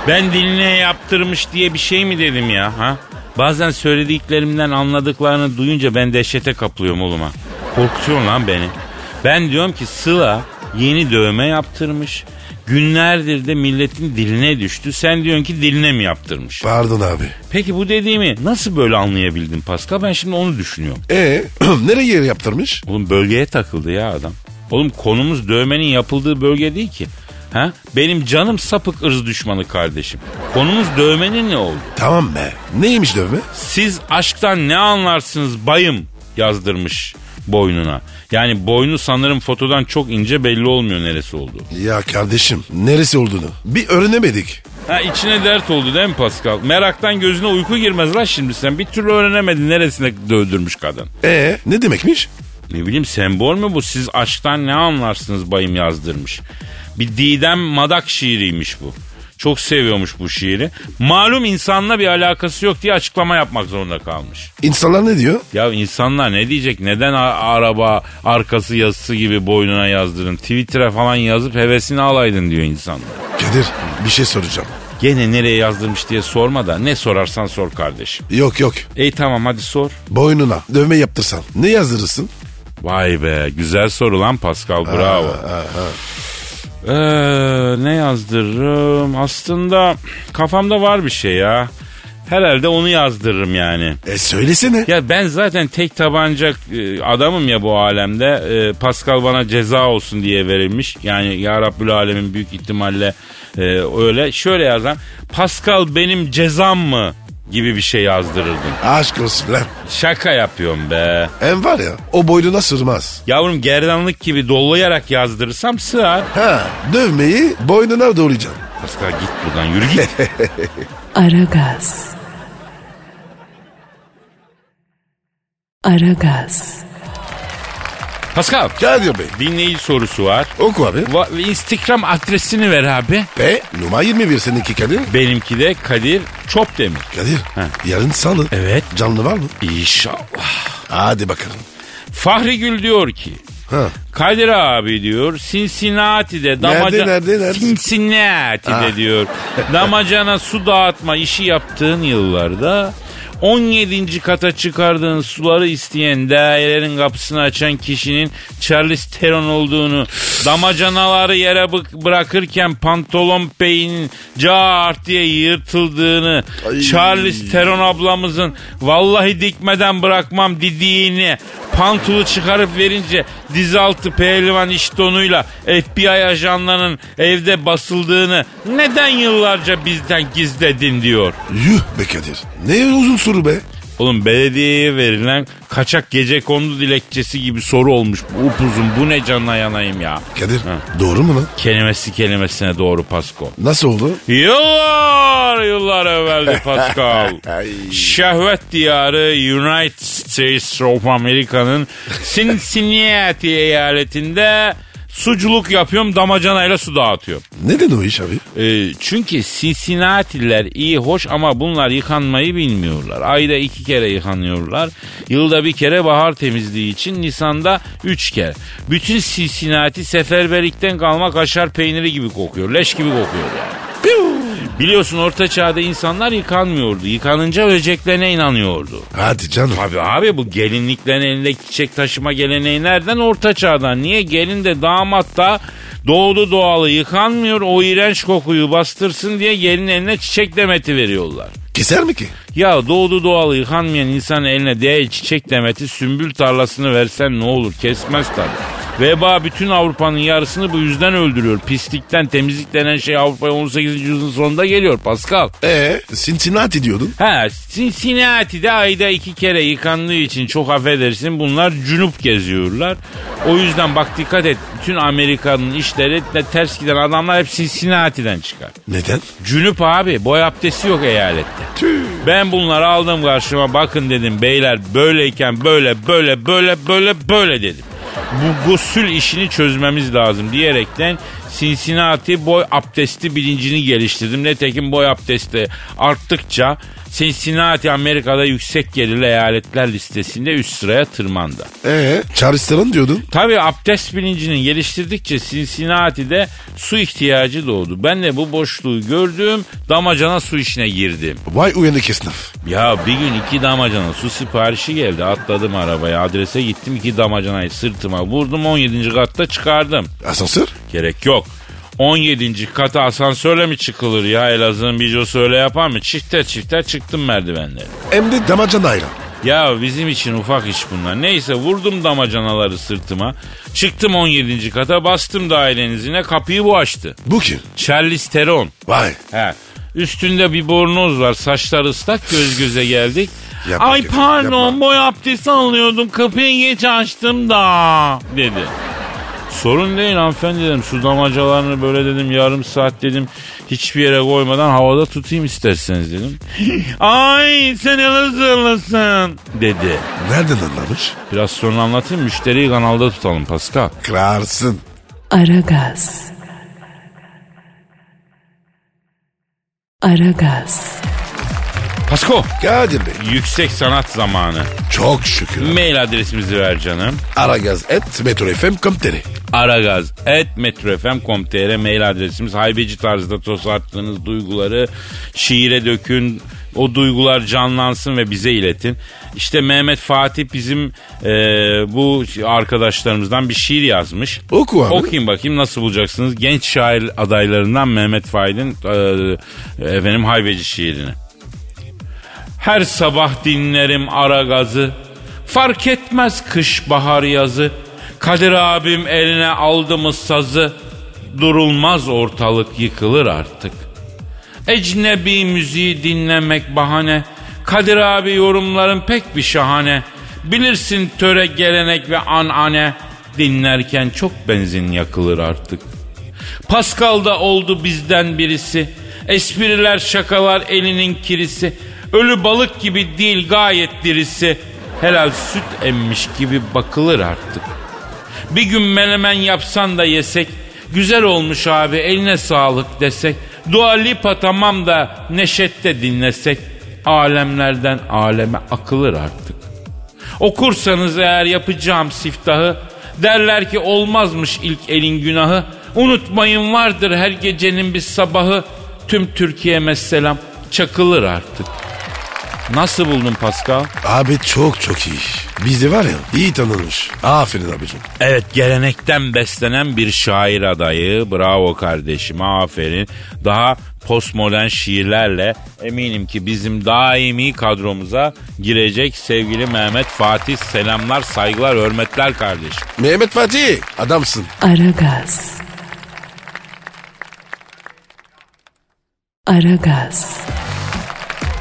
Speaker 2: Ben diline yaptırmış diye bir şey mi dedim ya? Ha? Bazen söylediklerimden anladıklarını duyunca ben dehşete kapılıyorum oğlum ha. Korkutuyorsun lan beni. Ben diyorum ki Sıla yeni dövme yaptırmış. Günlerdir de milletin diline düştü. Sen diyorsun ki diline mi yaptırmış?
Speaker 3: Pardon abi.
Speaker 2: Peki bu dediğimi nasıl böyle anlayabildin Pascal? Ben şimdi onu düşünüyorum.
Speaker 3: E nereye yaptırmış?
Speaker 2: Oğlum bölgeye takıldı ya adam. Oğlum konumuz dövmenin yapıldığı bölge değil ki. Ha? Benim canım sapık ırz düşmanı kardeşim. Konumuz dövmenin ne oldu?
Speaker 3: Tamam be. Neymiş dövme?
Speaker 2: Siz aşktan ne anlarsınız bayım yazdırmış boynuna. Yani boynu sanırım fotodan çok ince belli olmuyor neresi olduğu.
Speaker 3: Ya kardeşim neresi olduğunu bir öğrenemedik.
Speaker 2: Ha içine dert oldu değil mi Pascal? Meraktan gözüne uyku girmez lan şimdi sen. Bir türlü öğrenemedin neresine dövdürmüş kadın.
Speaker 3: E ne demekmiş?
Speaker 2: Ne bileyim sembol mü bu? Siz aşktan ne anlarsınız bayım yazdırmış. Bir Didem Madak şiiriymiş bu. Çok seviyormuş bu şiiri. Malum insanla bir alakası yok diye açıklama yapmak zorunda kalmış.
Speaker 3: İnsanlar ne diyor?
Speaker 2: Ya insanlar ne diyecek? Neden a- araba arkası yazısı gibi boynuna yazdırın? Twitter'a falan yazıp hevesini alaydın diyor insanlar.
Speaker 3: Kadir bir şey soracağım.
Speaker 2: Gene nereye yazdırmış diye sorma da ne sorarsan sor kardeşim.
Speaker 3: Yok yok
Speaker 2: Ey tamam hadi sor.
Speaker 3: boynuna dövme yaptırsan ne yazdırırsın?
Speaker 2: Vay be güzel soru lan Pascal bravo. Ee, ne yazdırırım? Aslında kafamda var bir şey ya. Herhalde onu yazdırırım yani.
Speaker 3: E söylesene.
Speaker 2: Ya ben zaten tek tabanca e, adamım ya bu alemde. E, Pascal bana ceza olsun diye verilmiş. Yani ya Rabbül Alemin büyük ihtimalle e, öyle. Şöyle yazan Pascal benim cezam mı gibi bir şey yazdırırdım.
Speaker 3: Aşk olsun lan.
Speaker 2: Şaka yapıyorum be.
Speaker 3: Hem var ya o boynuna sırmaz.
Speaker 2: Yavrum gerdanlık gibi dollayarak yazdırırsam sığar.
Speaker 3: Ha dövmeyi boynuna doğrayacağım.
Speaker 2: Pascal git buradan yürü git.
Speaker 1: Aragaz. Aragaz.
Speaker 2: Pascal
Speaker 3: Kadir Bey
Speaker 2: dinleyici sorusu var.
Speaker 3: oku abi.
Speaker 2: Va- Instagram adresini ver abi.
Speaker 3: Ve numara 21 seninki Kadir.
Speaker 2: Benimki de Kadir Çopdemir.
Speaker 3: Kadir yarın salı.
Speaker 2: Evet.
Speaker 3: Canlı var mı?
Speaker 2: İnşallah.
Speaker 3: Hadi bakalım.
Speaker 2: Fahri Gül diyor ki
Speaker 3: Ha.
Speaker 2: Kadir abi diyor Cincinnati'de
Speaker 3: Nerede,
Speaker 2: damaca...
Speaker 3: nerede, nerede? Ah.
Speaker 2: Cincinnati'de
Speaker 3: Ha.
Speaker 2: diyor. Damacana su dağıtma işi yaptığın yıllarda 17. kata çıkardığın suları isteyen dairelerin kapısını açan kişinin Charles Teron olduğunu, damacanaları yere bı- bırakırken pantolon peyinin cart diye yırtıldığını, Charles Teron ablamızın vallahi dikmeden bırakmam dediğini, pantulu çıkarıp verince dizaltı pehlivan iş tonuyla FBI ajanlarının evde basıldığını neden yıllarca bizden gizledin diyor.
Speaker 3: Yuh be Kadir. Ne uzun soru be.
Speaker 2: Oğlum belediyeye verilen kaçak gece kondu dilekçesi gibi soru olmuş. Upuzun bu ne canına yanayım ya.
Speaker 3: Kadir doğru mu lan?
Speaker 2: Kelimesi kelimesine doğru Pasko.
Speaker 3: Nasıl oldu?
Speaker 2: Yıllar yıllar evveldi Pascal.
Speaker 3: Ay.
Speaker 2: Şehvet diyarı United States of America'nın Cincinnati eyaletinde suculuk yapıyorum damacanayla su dağıtıyorum.
Speaker 3: Neden o iş abi?
Speaker 2: Ee, çünkü Cincinnati'liler iyi hoş ama bunlar yıkanmayı bilmiyorlar. Ayda iki kere yıkanıyorlar. Yılda bir kere bahar temizliği için Nisan'da üç kere. Bütün Cincinnati seferberlikten kalma kaşar peyniri gibi kokuyor. Leş gibi kokuyor yani. Biliyorsun orta çağda insanlar yıkanmıyordu. Yıkanınca öleceklerine inanıyordu.
Speaker 3: Hadi canım.
Speaker 2: Tabii abi bu gelinliklerin elinde çiçek taşıma geleneği nereden? Orta çağdan. Niye? Gelin de damat da doğdu doğalı yıkanmıyor. O iğrenç kokuyu bastırsın diye gelin eline çiçek demeti veriyorlar.
Speaker 3: Keser mi ki?
Speaker 2: Ya doğdu doğalı yıkanmayan insan eline değer çiçek demeti sümbül tarlasını versen ne olur kesmez tabii. Veba bütün Avrupa'nın yarısını bu yüzden öldürüyor. Pislikten temizlik denen şey Avrupa'ya 18. yüzyılın sonunda geliyor Pascal.
Speaker 3: Ee, Cincinnati diyordun.
Speaker 2: Ha Cincinnati'de ayda iki kere yıkandığı için çok affedersin bunlar cünüp geziyorlar. O yüzden bak dikkat et bütün Amerika'nın işleri de ters giden adamlar hep Cincinnati'den çıkar.
Speaker 3: Neden?
Speaker 2: Cünüp abi boy abdesti yok eyalette. Ben bunları aldım karşıma bakın dedim beyler böyleyken böyle böyle böyle böyle böyle dedim. Bu gusül işini çözmemiz lazım diyerekten Cincinnati boy abdesti bilincini geliştirdim. Netekim boy abdesti arttıkça Cincinnati Amerika'da yüksek gelirli eyaletler listesinde üst sıraya tırmandı.
Speaker 3: Ee, Charleston diyordun.
Speaker 2: Tabii abdest bilincini geliştirdikçe Cincinnati'de su ihtiyacı doğdu. Ben de bu boşluğu gördüm damacana su işine girdim.
Speaker 3: Vay uyanık esnaf.
Speaker 2: Ya bir gün iki damacana su siparişi geldi. Atladım arabaya adrese gittim iki damacanayı sırtıma vurdum 17. katta çıkardım.
Speaker 3: Asansör?
Speaker 2: Gerek yok. 17. kata asansörle mi çıkılır ya Elazığ'ın bicosu öyle yapar mı? Çifter çifter çıktım merdivenleri.
Speaker 3: Hem de damacan ayran.
Speaker 2: Ya bizim için ufak iş bunlar. Neyse vurdum damacanaları sırtıma. Çıktım 17. kata bastım dairenizine kapıyı bu açtı.
Speaker 3: Bu kim?
Speaker 2: Charles Teron.
Speaker 3: Vay.
Speaker 2: He. Üstünde bir bornoz var. Saçlar ıslak göz göze geldik.
Speaker 3: Yapma
Speaker 2: Ay
Speaker 3: Kemal,
Speaker 2: pardon
Speaker 3: yapma.
Speaker 2: boy abdesti alıyordum kapıyı geç açtım da dedi. Sorun değil hanımefendi dedim. Su damacalarını böyle dedim yarım saat dedim. Hiçbir yere koymadan havada tutayım isterseniz dedim. Ay sen Elazığlısın dedi.
Speaker 3: Nereden anlamış?
Speaker 2: Biraz sonra anlatayım müşteriyi kanalda tutalım Pascal.
Speaker 3: Krarsın.
Speaker 1: Aragaz. Aragaz.
Speaker 2: Pasko
Speaker 3: Kadir Bey.
Speaker 2: yüksek sanat zamanı.
Speaker 3: Çok şükür.
Speaker 2: Mail adresimizi ver canım.
Speaker 3: Aragaz et Metro FM komteri.
Speaker 2: Aragaz et metrofm.com.tr mail adresimiz. Haybeci tarzda tosarttığınız duyguları şiire dökün. O duygular canlansın ve bize iletin. İşte Mehmet Fatih bizim e, bu arkadaşlarımızdan bir şiir yazmış.
Speaker 3: Oku abi.
Speaker 2: Okuyayım bakayım nasıl bulacaksınız. Genç şair adaylarından Mehmet Faik'in e, efendim Haybeci şiirini. Her sabah dinlerim ara gazı. Fark etmez kış bahar yazı. Kadir abim eline aldı mı sazı. Durulmaz ortalık yıkılır artık. Ecnebi müziği dinlemek bahane. Kadir abi yorumların pek bir şahane. Bilirsin töre gelenek ve anane. Dinlerken çok benzin yakılır artık. Pascal'da oldu bizden birisi. Espriler şakalar elinin kirisi. Ölü balık gibi değil gayet dirisi. Helal süt emmiş gibi bakılır artık. Bir gün menemen yapsan da yesek. Güzel olmuş abi eline sağlık desek. Dua Lipa tamam da neşette dinlesek. Alemlerden aleme akılır artık. Okursanız eğer yapacağım siftahı derler ki olmazmış ilk elin günahı. Unutmayın vardır her gecenin bir sabahı. Tüm Türkiye'me selam çakılır artık. Nasıl buldun Pascal?
Speaker 3: Abi çok çok iyi. Bizde var ya iyi tanınmış. Aferin abicim.
Speaker 2: Evet gelenekten beslenen bir şair adayı. Bravo kardeşim aferin. Daha postmodern şiirlerle eminim ki bizim daimi kadromuza girecek sevgili Mehmet Fatih. Selamlar, saygılar, hürmetler kardeşim.
Speaker 3: Mehmet Fatih adamsın.
Speaker 1: Aragaz. Aragaz.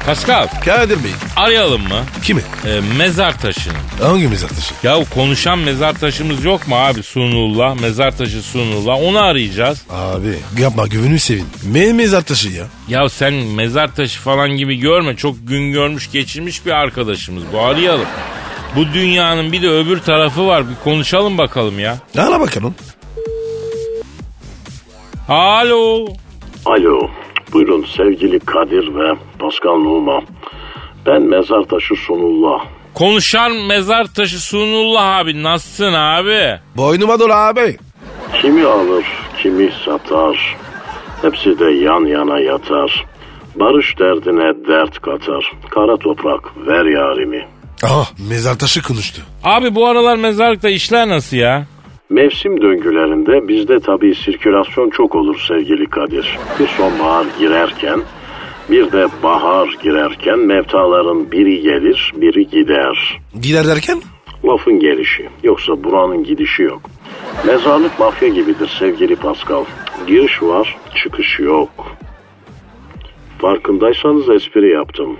Speaker 2: Pascal
Speaker 3: Kadir Bey
Speaker 2: arayalım mı?
Speaker 3: kimi?
Speaker 2: Ee, mezar taşını.
Speaker 3: Hangimiz atışı?
Speaker 2: Ya konuşan mezar taşımız yok mu abi Sunullah? Mezar taşı Sunullah. Onu arayacağız.
Speaker 3: Abi yapma güvenü sevin. Mehmet atışı ya.
Speaker 2: Ya sen mezar taşı falan gibi görme. Çok gün görmüş geçirmiş bir arkadaşımız bu. Arayalım. Bu dünyanın bir de öbür tarafı var. Bir konuşalım bakalım ya.
Speaker 3: Ara bakalım.
Speaker 2: Alo.
Speaker 4: Alo, buyurun sevgili Kadir ve Pascal Numa. Ben Mezartaşı Sunullah.
Speaker 2: Konuşan mezar taşı Sunullah abi. Nasılsın abi?
Speaker 3: Boynuma dolu abi.
Speaker 4: Kimi alır, kimi satar. Hepsi de yan yana yatar. Barış derdine dert katar. Kara toprak ver yarimi.
Speaker 3: Aha Ah, mezar taşı konuştu.
Speaker 2: Abi bu aralar mezarlıkta işler nasıl ya?
Speaker 4: Mevsim döngülerinde bizde tabii sirkülasyon çok olur sevgili Kadir. Bir sonbahar girerken Bir de bahar girerken mevtaların biri gelir, biri gider.
Speaker 3: Gider derken?
Speaker 4: Lafın gelişi. Yoksa buranın gidişi yok. Mezarlık mafya gibidir sevgili Pascal. Giriş var, çıkış yok. Farkındaysanız espri yaptım.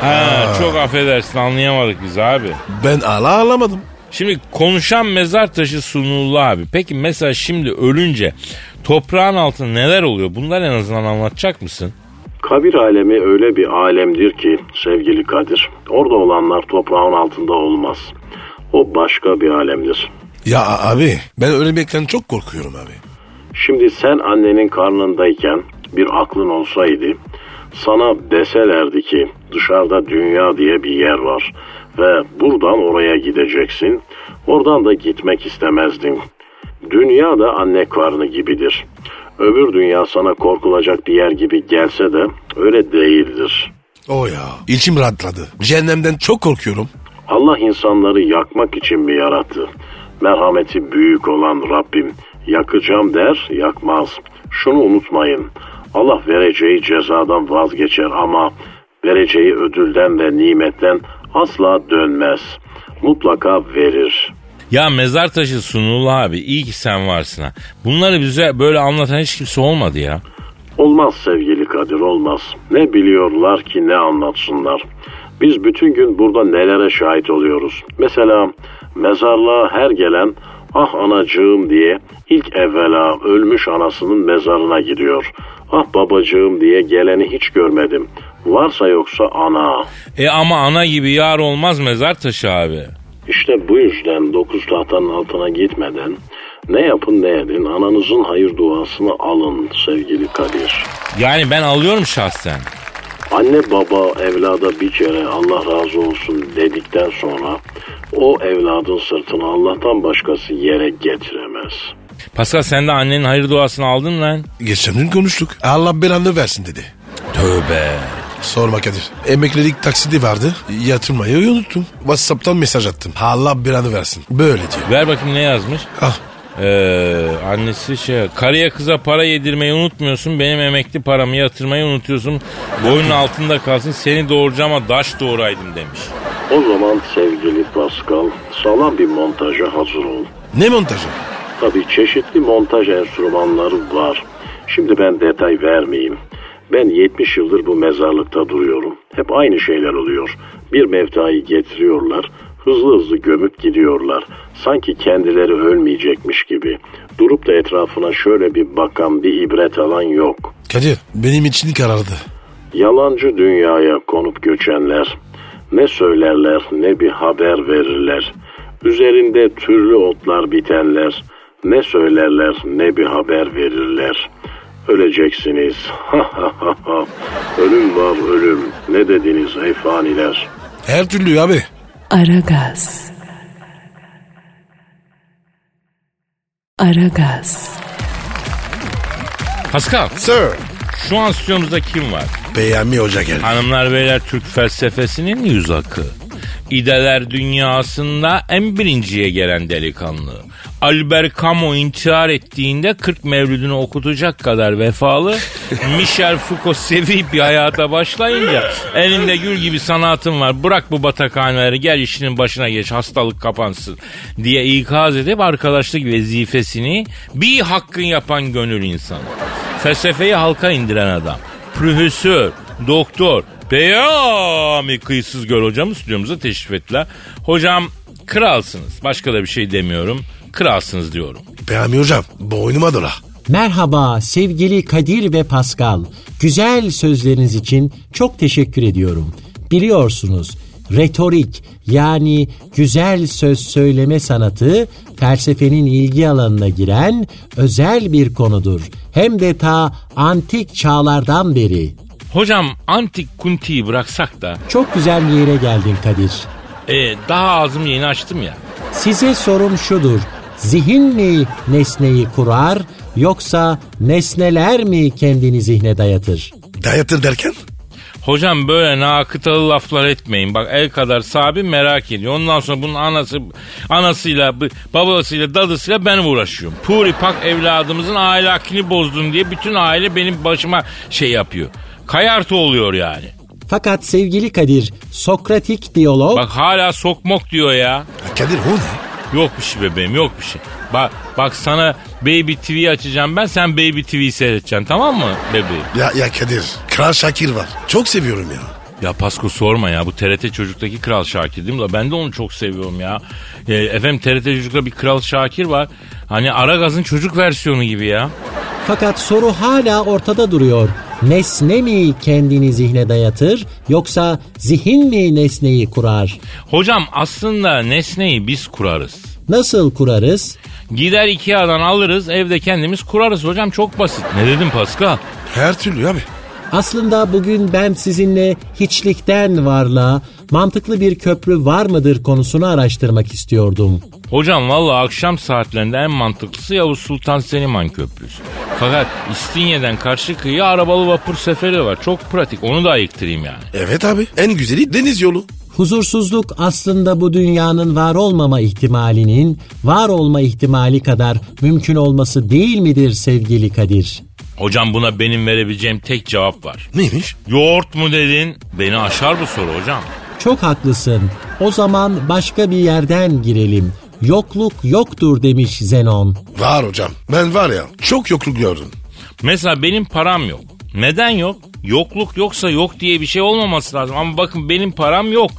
Speaker 2: Ha, çok affedersin anlayamadık biz abi.
Speaker 3: Ben ala alamadım.
Speaker 2: Şimdi konuşan mezar taşı sunuldu abi. Peki mesela şimdi ölünce toprağın altında neler oluyor? Bunlar en azından anlatacak mısın?
Speaker 4: Kabir alemi öyle bir alemdir ki sevgili Kadir. Orada olanlar toprağın altında olmaz. O başka bir alemdir.
Speaker 3: Ya a- abi ben ölmekten çok korkuyorum abi.
Speaker 4: Şimdi sen annenin karnındayken bir aklın olsaydı sana deselerdi ki dışarıda dünya diye bir yer var ve buradan oraya gideceksin. Oradan da gitmek istemezdin. Dünya da anne karnı gibidir. Öbür dünya sana korkulacak bir yer gibi gelse de öyle değildir.
Speaker 3: O ya. İçim rahatladı. Cehennemden çok korkuyorum.
Speaker 4: Allah insanları yakmak için mi yarattı? Merhameti büyük olan Rabbim yakacağım der yakmaz. Şunu unutmayın. Allah vereceği cezadan vazgeçer ama vereceği ödülden ve nimetten asla dönmez. Mutlaka verir.
Speaker 2: Ya mezar taşı sunuldu abi. İyi ki sen varsın ha. Bunları bize böyle anlatan hiç kimse olmadı ya.
Speaker 4: Olmaz sevgili Kadir olmaz. Ne biliyorlar ki ne anlatsınlar. Biz bütün gün burada nelere şahit oluyoruz. Mesela mezarlığa her gelen ah anacığım diye ilk evvela ölmüş anasının mezarına gidiyor. Ah babacığım diye geleni hiç görmedim. Varsa yoksa ana.
Speaker 2: E ama ana gibi yar olmaz mezar taşı abi.
Speaker 4: İşte bu yüzden dokuz tahtanın altına gitmeden ne yapın ne edin ananızın hayır duasını alın sevgili Kadir.
Speaker 2: Yani ben alıyorum şahsen.
Speaker 4: Anne baba evlada bir kere Allah razı olsun dedikten sonra o evladın sırtını Allah'tan başkası yere getiremez.
Speaker 2: Pascal sen de annenin hayır duasını aldın lan.
Speaker 3: Geçen gün konuştuk. E, Allah belanı versin dedi.
Speaker 2: Tövbe.
Speaker 3: Sorma Kadir. Emeklilik taksidi vardı. Yatırmayı unuttum. Whatsapp'tan mesaj attım. Allah belanı versin. Böyle diyor.
Speaker 2: Ver bakayım ne yazmış.
Speaker 3: Ah
Speaker 2: Ee, annesi şey karıya kıza para yedirmeyi unutmuyorsun benim emekli paramı yatırmayı unutuyorsun boyun altında kalsın seni doğuracağıma daş doğuraydım demiş.
Speaker 4: O zaman sevgili Pascal sağlam bir montaja hazır ol.
Speaker 3: ne montajı?
Speaker 4: Tabii çeşitli montaj enstrümanları var. Şimdi ben detay vermeyeyim. Ben 70 yıldır bu mezarlıkta duruyorum. Hep aynı şeyler oluyor. Bir mevtayı getiriyorlar. Hızlı hızlı gömüp gidiyorlar. Sanki kendileri ölmeyecekmiş gibi. Durup da etrafına şöyle bir bakan, bir ibret alan yok.
Speaker 3: Kadir benim için karardı.
Speaker 4: Yalancı dünyaya konup göçenler ne söylerler ne bir haber verirler. Üzerinde türlü otlar bitenler ne söylerler ne bir haber verirler. Öleceksiniz. ölüm var ölüm. Ne dediniz ey faniler?
Speaker 3: Her türlü abi.
Speaker 1: Aragaz. Aragaz.
Speaker 2: Pascal
Speaker 3: Sir.
Speaker 2: şu an stüdyomuzda kim var?
Speaker 3: Peyami Hoca geldi.
Speaker 2: Hanımlar beyler Türk felsefesinin yüz akı. İdeler dünyasında en birinciye gelen delikanlı. Albert Camus intihar ettiğinde 40 mevlüdünü okutacak kadar vefalı. Michel Foucault sevi bir hayata başlayınca elinde gül gibi sanatın var. Bırak bu batakhaneleri gel işinin başına geç hastalık kapansın diye ikaz edip arkadaşlık vezifesini bir hakkın yapan gönül insanı. Felsefeyi halka indiren adam profesör, doktor, peyami kıyısız göl hocamı stüdyomuza teşrif ettiler. Hocam kralsınız. Başka da bir şey demiyorum. Kralsınız diyorum.
Speaker 3: Peyami Hocam boynuma dola.
Speaker 5: Merhaba sevgili Kadir ve Pascal. Güzel sözleriniz için çok teşekkür ediyorum. Biliyorsunuz retorik yani güzel söz söyleme sanatı felsefenin ilgi alanına giren özel bir konudur. Hem de ta antik çağlardan beri.
Speaker 2: Hocam antik kuntiyi bıraksak da
Speaker 5: Çok güzel bir yere geldin Kadir.
Speaker 2: e, daha ağzımı yeni açtım ya.
Speaker 5: Size sorum şudur. Zihin mi nesneyi kurar yoksa nesneler mi kendini zihne dayatır?
Speaker 3: Dayatır derken?
Speaker 2: Hocam böyle nakıtalı laflar etmeyin. Bak el kadar sabi merak ediyor. Ondan sonra bunun anası anasıyla, b- babasıyla, dadısıyla ben uğraşıyorum. Puri pak evladımızın ahlakını bozdun diye bütün aile benim başıma şey yapıyor. Kayartı oluyor yani.
Speaker 5: Fakat sevgili Kadir, Sokratik diyalog
Speaker 2: Bak hala sokmok diyor ya.
Speaker 3: Ya Kadir o ne?
Speaker 2: Yok bir şey bebeğim yok bir şey. Bak bak sana Baby TV açacağım ben sen Baby TV seyredeceksin tamam mı bebeğim?
Speaker 3: Ya, ya Kadir. Kral Şakir var. Çok seviyorum ya.
Speaker 2: Ya Pasko sorma ya bu TRT Çocuk'taki Kral Şakir değil mi? La Ben de onu çok seviyorum ya. E, efendim TRT Çocuk'ta bir Kral Şakir var. Hani Aragaz'ın çocuk versiyonu gibi ya.
Speaker 5: Fakat soru hala ortada duruyor. Nesne mi kendini zihne dayatır yoksa zihin mi nesneyi kurar?
Speaker 2: Hocam aslında nesneyi biz kurarız.
Speaker 5: Nasıl kurarız?
Speaker 2: Gider Ikea'dan alırız evde kendimiz kurarız hocam çok basit. Ne dedim Pascal?
Speaker 3: Her türlü abi.
Speaker 5: Aslında bugün ben sizinle hiçlikten varlığa mantıklı bir köprü var mıdır konusunu araştırmak istiyordum.
Speaker 2: Hocam valla akşam saatlerinde en mantıklısı Yavuz Sultan Seliman Köprüsü. Fakat İstinye'den karşı kıyıya arabalı vapur seferi var. Çok pratik onu da ayıktırayım yani.
Speaker 3: Evet abi. En güzeli deniz yolu.
Speaker 5: Huzursuzluk aslında bu dünyanın var olmama ihtimalinin var olma ihtimali kadar mümkün olması değil midir sevgili Kadir?
Speaker 2: Hocam buna benim verebileceğim tek cevap var.
Speaker 3: Neymiş?
Speaker 2: Yoğurt mu dedin? Beni aşar bu soru hocam.
Speaker 5: Çok haklısın. O zaman başka bir yerden girelim. Yokluk yoktur demiş Zenon.
Speaker 3: Var hocam. Ben var ya çok yokluk gördüm.
Speaker 2: Mesela benim param yok. Neden yok? Yokluk yoksa yok diye bir şey olmaması lazım. Ama bakın benim param yok.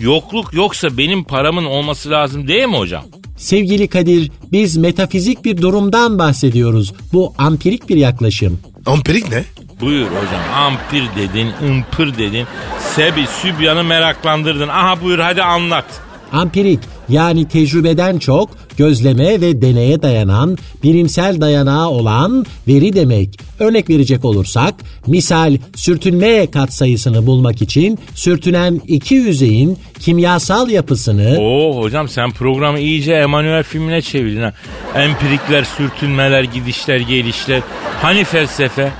Speaker 2: Yokluk yoksa benim paramın olması lazım değil mi hocam?
Speaker 5: Sevgili Kadir, biz metafizik bir durumdan bahsediyoruz. Bu ampirik bir yaklaşım.
Speaker 3: Amperik ne?
Speaker 2: Buyur hocam ampir dedin, ımpır dedin, sebi, sübyanı meraklandırdın. Aha buyur hadi anlat.
Speaker 5: Ampirik yani tecrübeden çok gözleme ve deneye dayanan, bilimsel dayanağı olan veri demek. Örnek verecek olursak, misal sürtünme katsayısını bulmak için sürtünen iki yüzeyin kimyasal yapısını
Speaker 2: Oo hocam sen programı iyice Emanuel filmine çevirdin ha. Empirikler, sürtünmeler, gidişler, gelişler. Hani felsefe?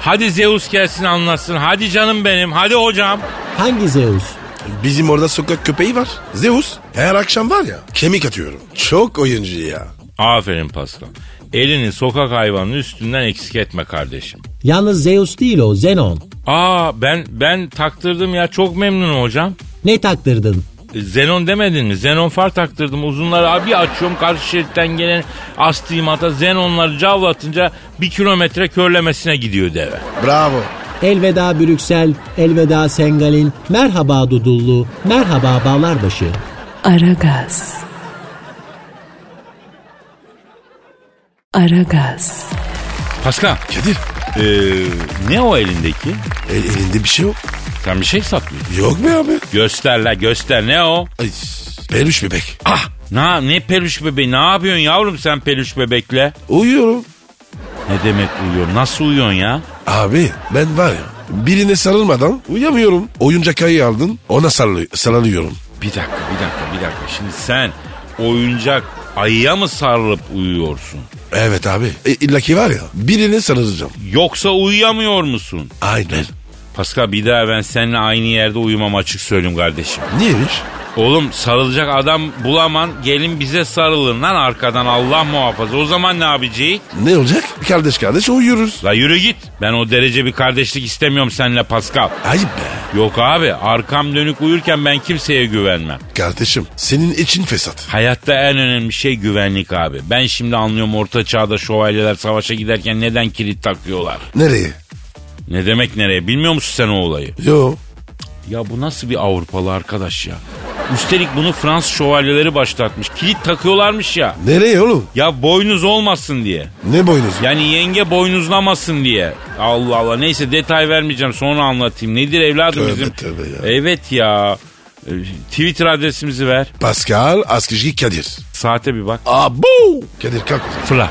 Speaker 2: Hadi Zeus gelsin anlatsın. Hadi canım benim. Hadi hocam.
Speaker 5: hangi Zeus?
Speaker 3: Bizim orada sokak köpeği var. Zeus. Her akşam var ya kemik atıyorum. Çok oyuncu ya.
Speaker 2: Aferin Pascal. Elini sokak hayvanının üstünden eksik etme kardeşim.
Speaker 5: Yalnız Zeus değil o, Zenon.
Speaker 2: Aa ben ben taktırdım ya çok memnunum hocam.
Speaker 5: Ne taktırdın?
Speaker 2: E, Zenon demedin mi? Zenon far taktırdım uzunları abi açıyorum karşı şeritten gelen astigmata Zenonları cavlatınca bir kilometre körlemesine gidiyor deve.
Speaker 3: Bravo.
Speaker 5: Elveda Brüksel, elveda Sengalin, merhaba Dudullu, merhaba Bağlarbaşı.
Speaker 1: Aragaz. Aragaz.
Speaker 2: Pascal
Speaker 3: Kadir
Speaker 2: e, ne o elindeki?
Speaker 3: el- elinde bir şey yok.
Speaker 2: Sen bir şey saklıyorsun.
Speaker 3: Yok mu abi?
Speaker 2: Göster la göster ne o?
Speaker 3: Ay, Permiş bebek.
Speaker 2: Ah na, ne peluş bebeği ne yapıyorsun yavrum sen peluş bebekle?
Speaker 3: Uyuyorum.
Speaker 2: Ne demek uyuyor nasıl uyuyorsun ya?
Speaker 3: Abi ben var ya birine sarılmadan uyuyamıyorum. Oyuncak ayı aldın ona sarıl- sarılıyorum.
Speaker 2: Bir dakika bir dakika bir dakika şimdi sen oyuncak ayıya mı sarılıp uyuyorsun?
Speaker 3: Evet abi. E, illa ki var ya birine sarılacağım.
Speaker 2: Yoksa uyuyamıyor musun?
Speaker 3: Aynen.
Speaker 2: Pascal bir daha ben seninle aynı yerde uyumam açık söyleyeyim kardeşim.
Speaker 3: Niyeymiş?
Speaker 2: Oğlum sarılacak adam bulaman gelin bize sarılın lan arkadan Allah muhafaza. O zaman ne yapacağız?
Speaker 3: Ne olacak? Kardeş kardeş uyuyoruz.
Speaker 2: La yürü git. Ben o derece bir kardeşlik istemiyorum seninle Pascal.
Speaker 3: Ayıp be.
Speaker 2: Yok abi arkam dönük uyurken ben kimseye güvenmem.
Speaker 3: Kardeşim senin için fesat.
Speaker 2: Hayatta en önemli şey güvenlik abi. Ben şimdi anlıyorum orta çağda şövalyeler savaşa giderken neden kilit takıyorlar.
Speaker 3: Nereye?
Speaker 2: Ne demek nereye bilmiyor musun sen o olayı?
Speaker 3: Yo.
Speaker 2: Ya bu nasıl bir Avrupalı arkadaş ya? Üstelik bunu Fransız şövalyeleri başlatmış. Kilit takıyorlarmış ya.
Speaker 3: Nereye oğlum?
Speaker 2: Ya boynuz olmasın diye.
Speaker 3: Ne boynuz?
Speaker 2: Yani yenge boynuzlamasın diye. Allah Allah neyse detay vermeyeceğim sonra anlatayım. Nedir evladım
Speaker 3: Tövbe,
Speaker 2: bizim?
Speaker 3: tövbe ya.
Speaker 2: Evet ya. Ee, Twitter adresimizi ver.
Speaker 3: Pascal Askışki Kadir.
Speaker 2: Saate bir bak.
Speaker 3: Abu! Kadir kalk. o zaman.
Speaker 2: Fırla.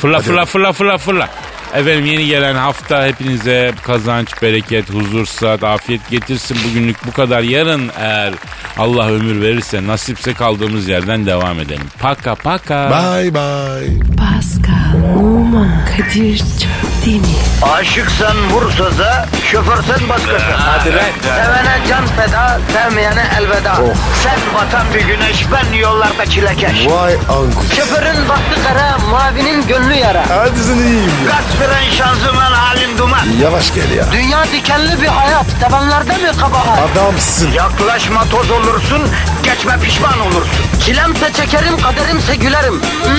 Speaker 2: Fırla fırla fırla fırla fırla. Efendim yeni gelen hafta hepinize kazanç, bereket, huzur, saat, afiyet getirsin. Bugünlük bu kadar. Yarın eğer Allah ömür verirse nasipse kaldığımız yerden devam edelim. Paka paka.
Speaker 3: Bye bye.
Speaker 1: Pascal, Oman, Kadir çok Aragaz,
Speaker 6: Aşıksan vursa da, şoförsen başkasın. Hadi
Speaker 7: lan.
Speaker 6: Sevene can feda, sevmeyene elveda. Sen batan bir güneş, ben yollarda çilekeş.
Speaker 7: Vay anku.
Speaker 6: Şoförün baktı kara, mavinin gönlü yara.
Speaker 7: Hadi sen iyiyim ya.
Speaker 6: Kasperen şanzıman halin duman.
Speaker 7: Yavaş gel ya.
Speaker 6: Dünya dikenli bir hayat, sevenlerde mi kabahar?
Speaker 7: Adamsın.
Speaker 6: Yaklaşma toz olursun, geçme pişman olursun. Çilemse çekerim, kaderimse gülerim.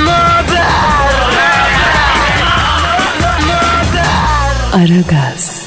Speaker 6: Möber!
Speaker 1: Aragaz.